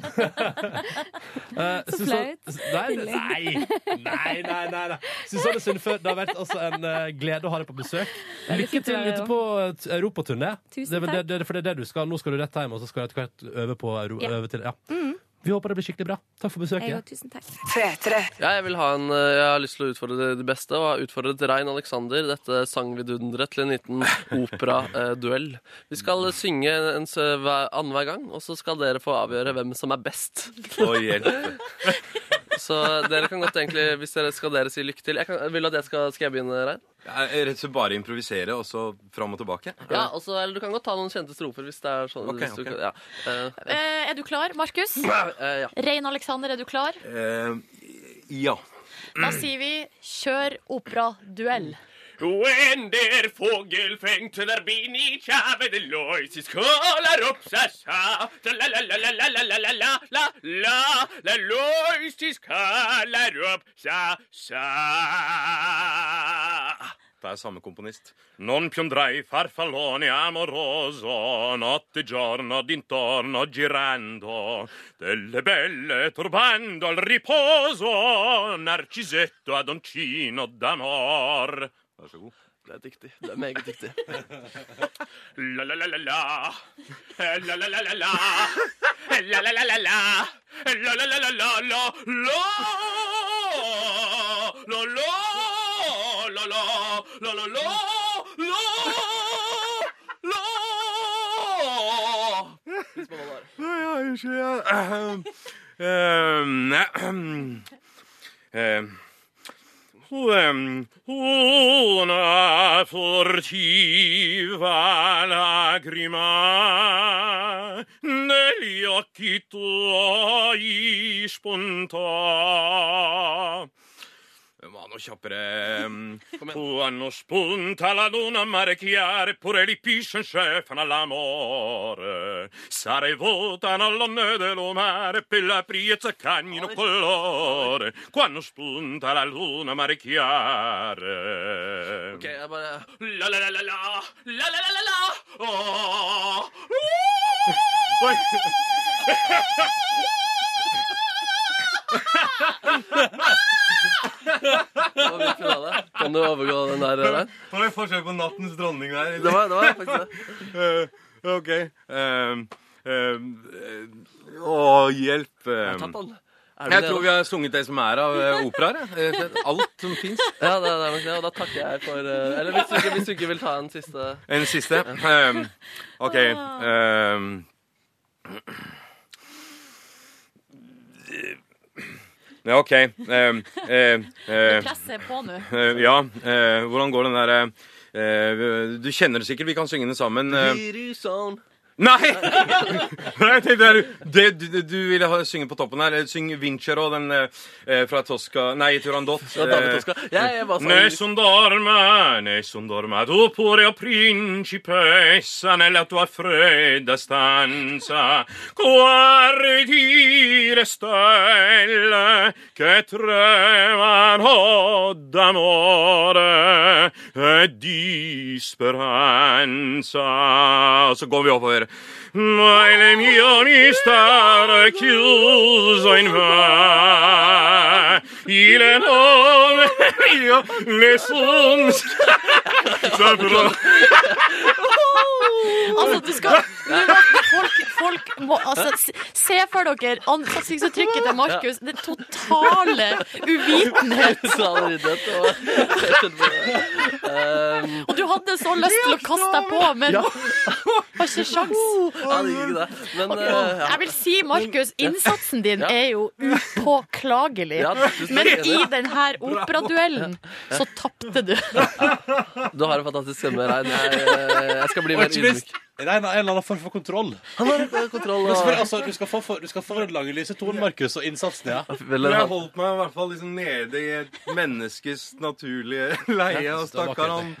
Eh, Så Susanne- flaut. Nei, nei, nei, nei, nei, nei. Susanne Sundfør, det har vært altså en eh, glede å ha deg på besøk. Lykke til ute på eh, europaturné. Tusen Det er vel takk. det- det- For det er det du skal. Nå skal du rett hjem, og så skal du etter hvert øve på euro... Ja. Mm. Øve til, ja. Vi håper det blir skikkelig bra. Takk for Jeg besøket. òg. Tusen takk. Jeg, vil ha en, eh, jeg har lyst til å utfordre det- det beste, og har utfordret Rein Alexander, dette sangvidunderet, til en liten operaduell. Vi skal synge en s- hver- annenhver gang, og så skal dere få avgjøre hvem som er best. Å, hjelpe. Så dere kan godt egentlig, hvis dere skal dere si lykke til. Jeg kan, vil du at jeg skal, skal jeg begynne, Rein? Jeg, rett og slett bare improvisere, og så fram og tilbake. Ja, også, eller du kan godt ta noen kjente strofer hvis det er sånn. Ok, hvis du ok. kan- ja. Eh, Eh, er du klar, Markus? eh, ja. Rein Alexander, er du klar? Eh, ja. Da sier vi kjør operaduell. When der fågel fengte der bin i tjavet Lois skåler opp seg sa la la la la la la la la la la la La lois skåler opp seg sa Det er samme komponist. Non piondrai farfallone amoroso, notte giorno d'intorno girando, delle belle turbando al riposo, narcisetto ad oncino d'amor. Vær så god. Det er dyktig. Det er meget dyktig. La la la la la, Eh, la la la la la, Eh, la la la la la, Eh, la la la la la la, la la la la la, la la la la la. Ja, unnskyld, ja. Ehm, ehm, ehm. Lem una furtiva lacrima negli occhi tuoi spuntò. Var noe kjappere. ehm. Quando spunta la luna a mare chiare, pure li pisce cefana l'amore. Sarei votano all'onne dell'omare per la priezza cagnino colore. Quando spunta la luna a mare chiare. Ok, jeg bare... La la la la la, la la la la la, oh. Oi! Kan du overgå den der, Rein? Det var et forsøk på nattens dronning der. Det var- det var faktisk det. OK. Ehm, ehm, eh, å, hjelp. har tatt den. Er du Jeg det, tror da? vi har sunget det som er av eh, operaer. jeg. Rett og slett Alt som fins. Ja, det, det er nok det, og da takker jeg for eh, Eller hvis du, ikke, hvis du ikke vil ta en siste En siste. Ehm, OK. ehm. Ja, OK. ehm, ehm, Det ehm. presset er på nå. Eh, ja, eh, hvordan går den derre Du kjenner det sikkert, vi kan synge den sammen. eh. Viruson. Nei! Nei, jeg tenkte det, er- det du, du ville ha, synge på toppen her. eh, Syng Vincero, den eh, fra Tosca Nei, Turandot. eh. Ja, David Tosca. Jeg er bare sånn- Nessun dorme, nessun dorme, tu pure o principessa nella tua fredda stanza guardi le stelle che tremano d'amore e di speranza så går vi oppover ma il mio mistero è chiuso in me il nome mio nessun saprà Altså, du skal du, folk, folk må, altså, se- Se for dere ansiktsuttrykket til Markus. Den totale uvitenhet. Totale uvitenhet, og jeg skjønner på det. Um, Og du hadde så lyst til å kaste deg på, men Ja. har ikke sjans. ja, det gikk ikke det. Men Ok, eh, ja. Jeg vil si, Markus, innsatsen din er jo upåklagelig. Ja, du skal Men gjøre i det. denne operaduellen så tapte du. Du har en fantastisk stemme, Rein. Jeg, eh, jeg skal bli mer ydmyk. Rein har en eller annen form for kontroll. Han har eh, kontroll. Men selvfølgelig, Og... altså, du skal få for, du skal få for den langlyse tonen, Markus, og innsatsen, ja. Men jeg holdt meg i hvert fall liksom nede i et menneskes naturlige leie. Ja, det Og var stakkar han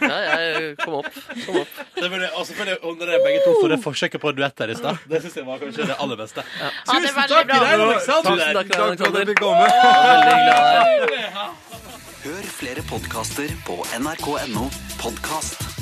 Ja, jeg kom opp. Kom opp. Det var det, og selvfølgelig om dere begge to for det forsøket på duett her i stad. Det syns jeg var kanskje det aller beste. Ja, det er veldig bra. Rein Alexander! Tusen takk, Takk Rein for at jeg Alexander. fikk komme. Ja, veldig glad. Hør flere podkaster på nrk.no podkast.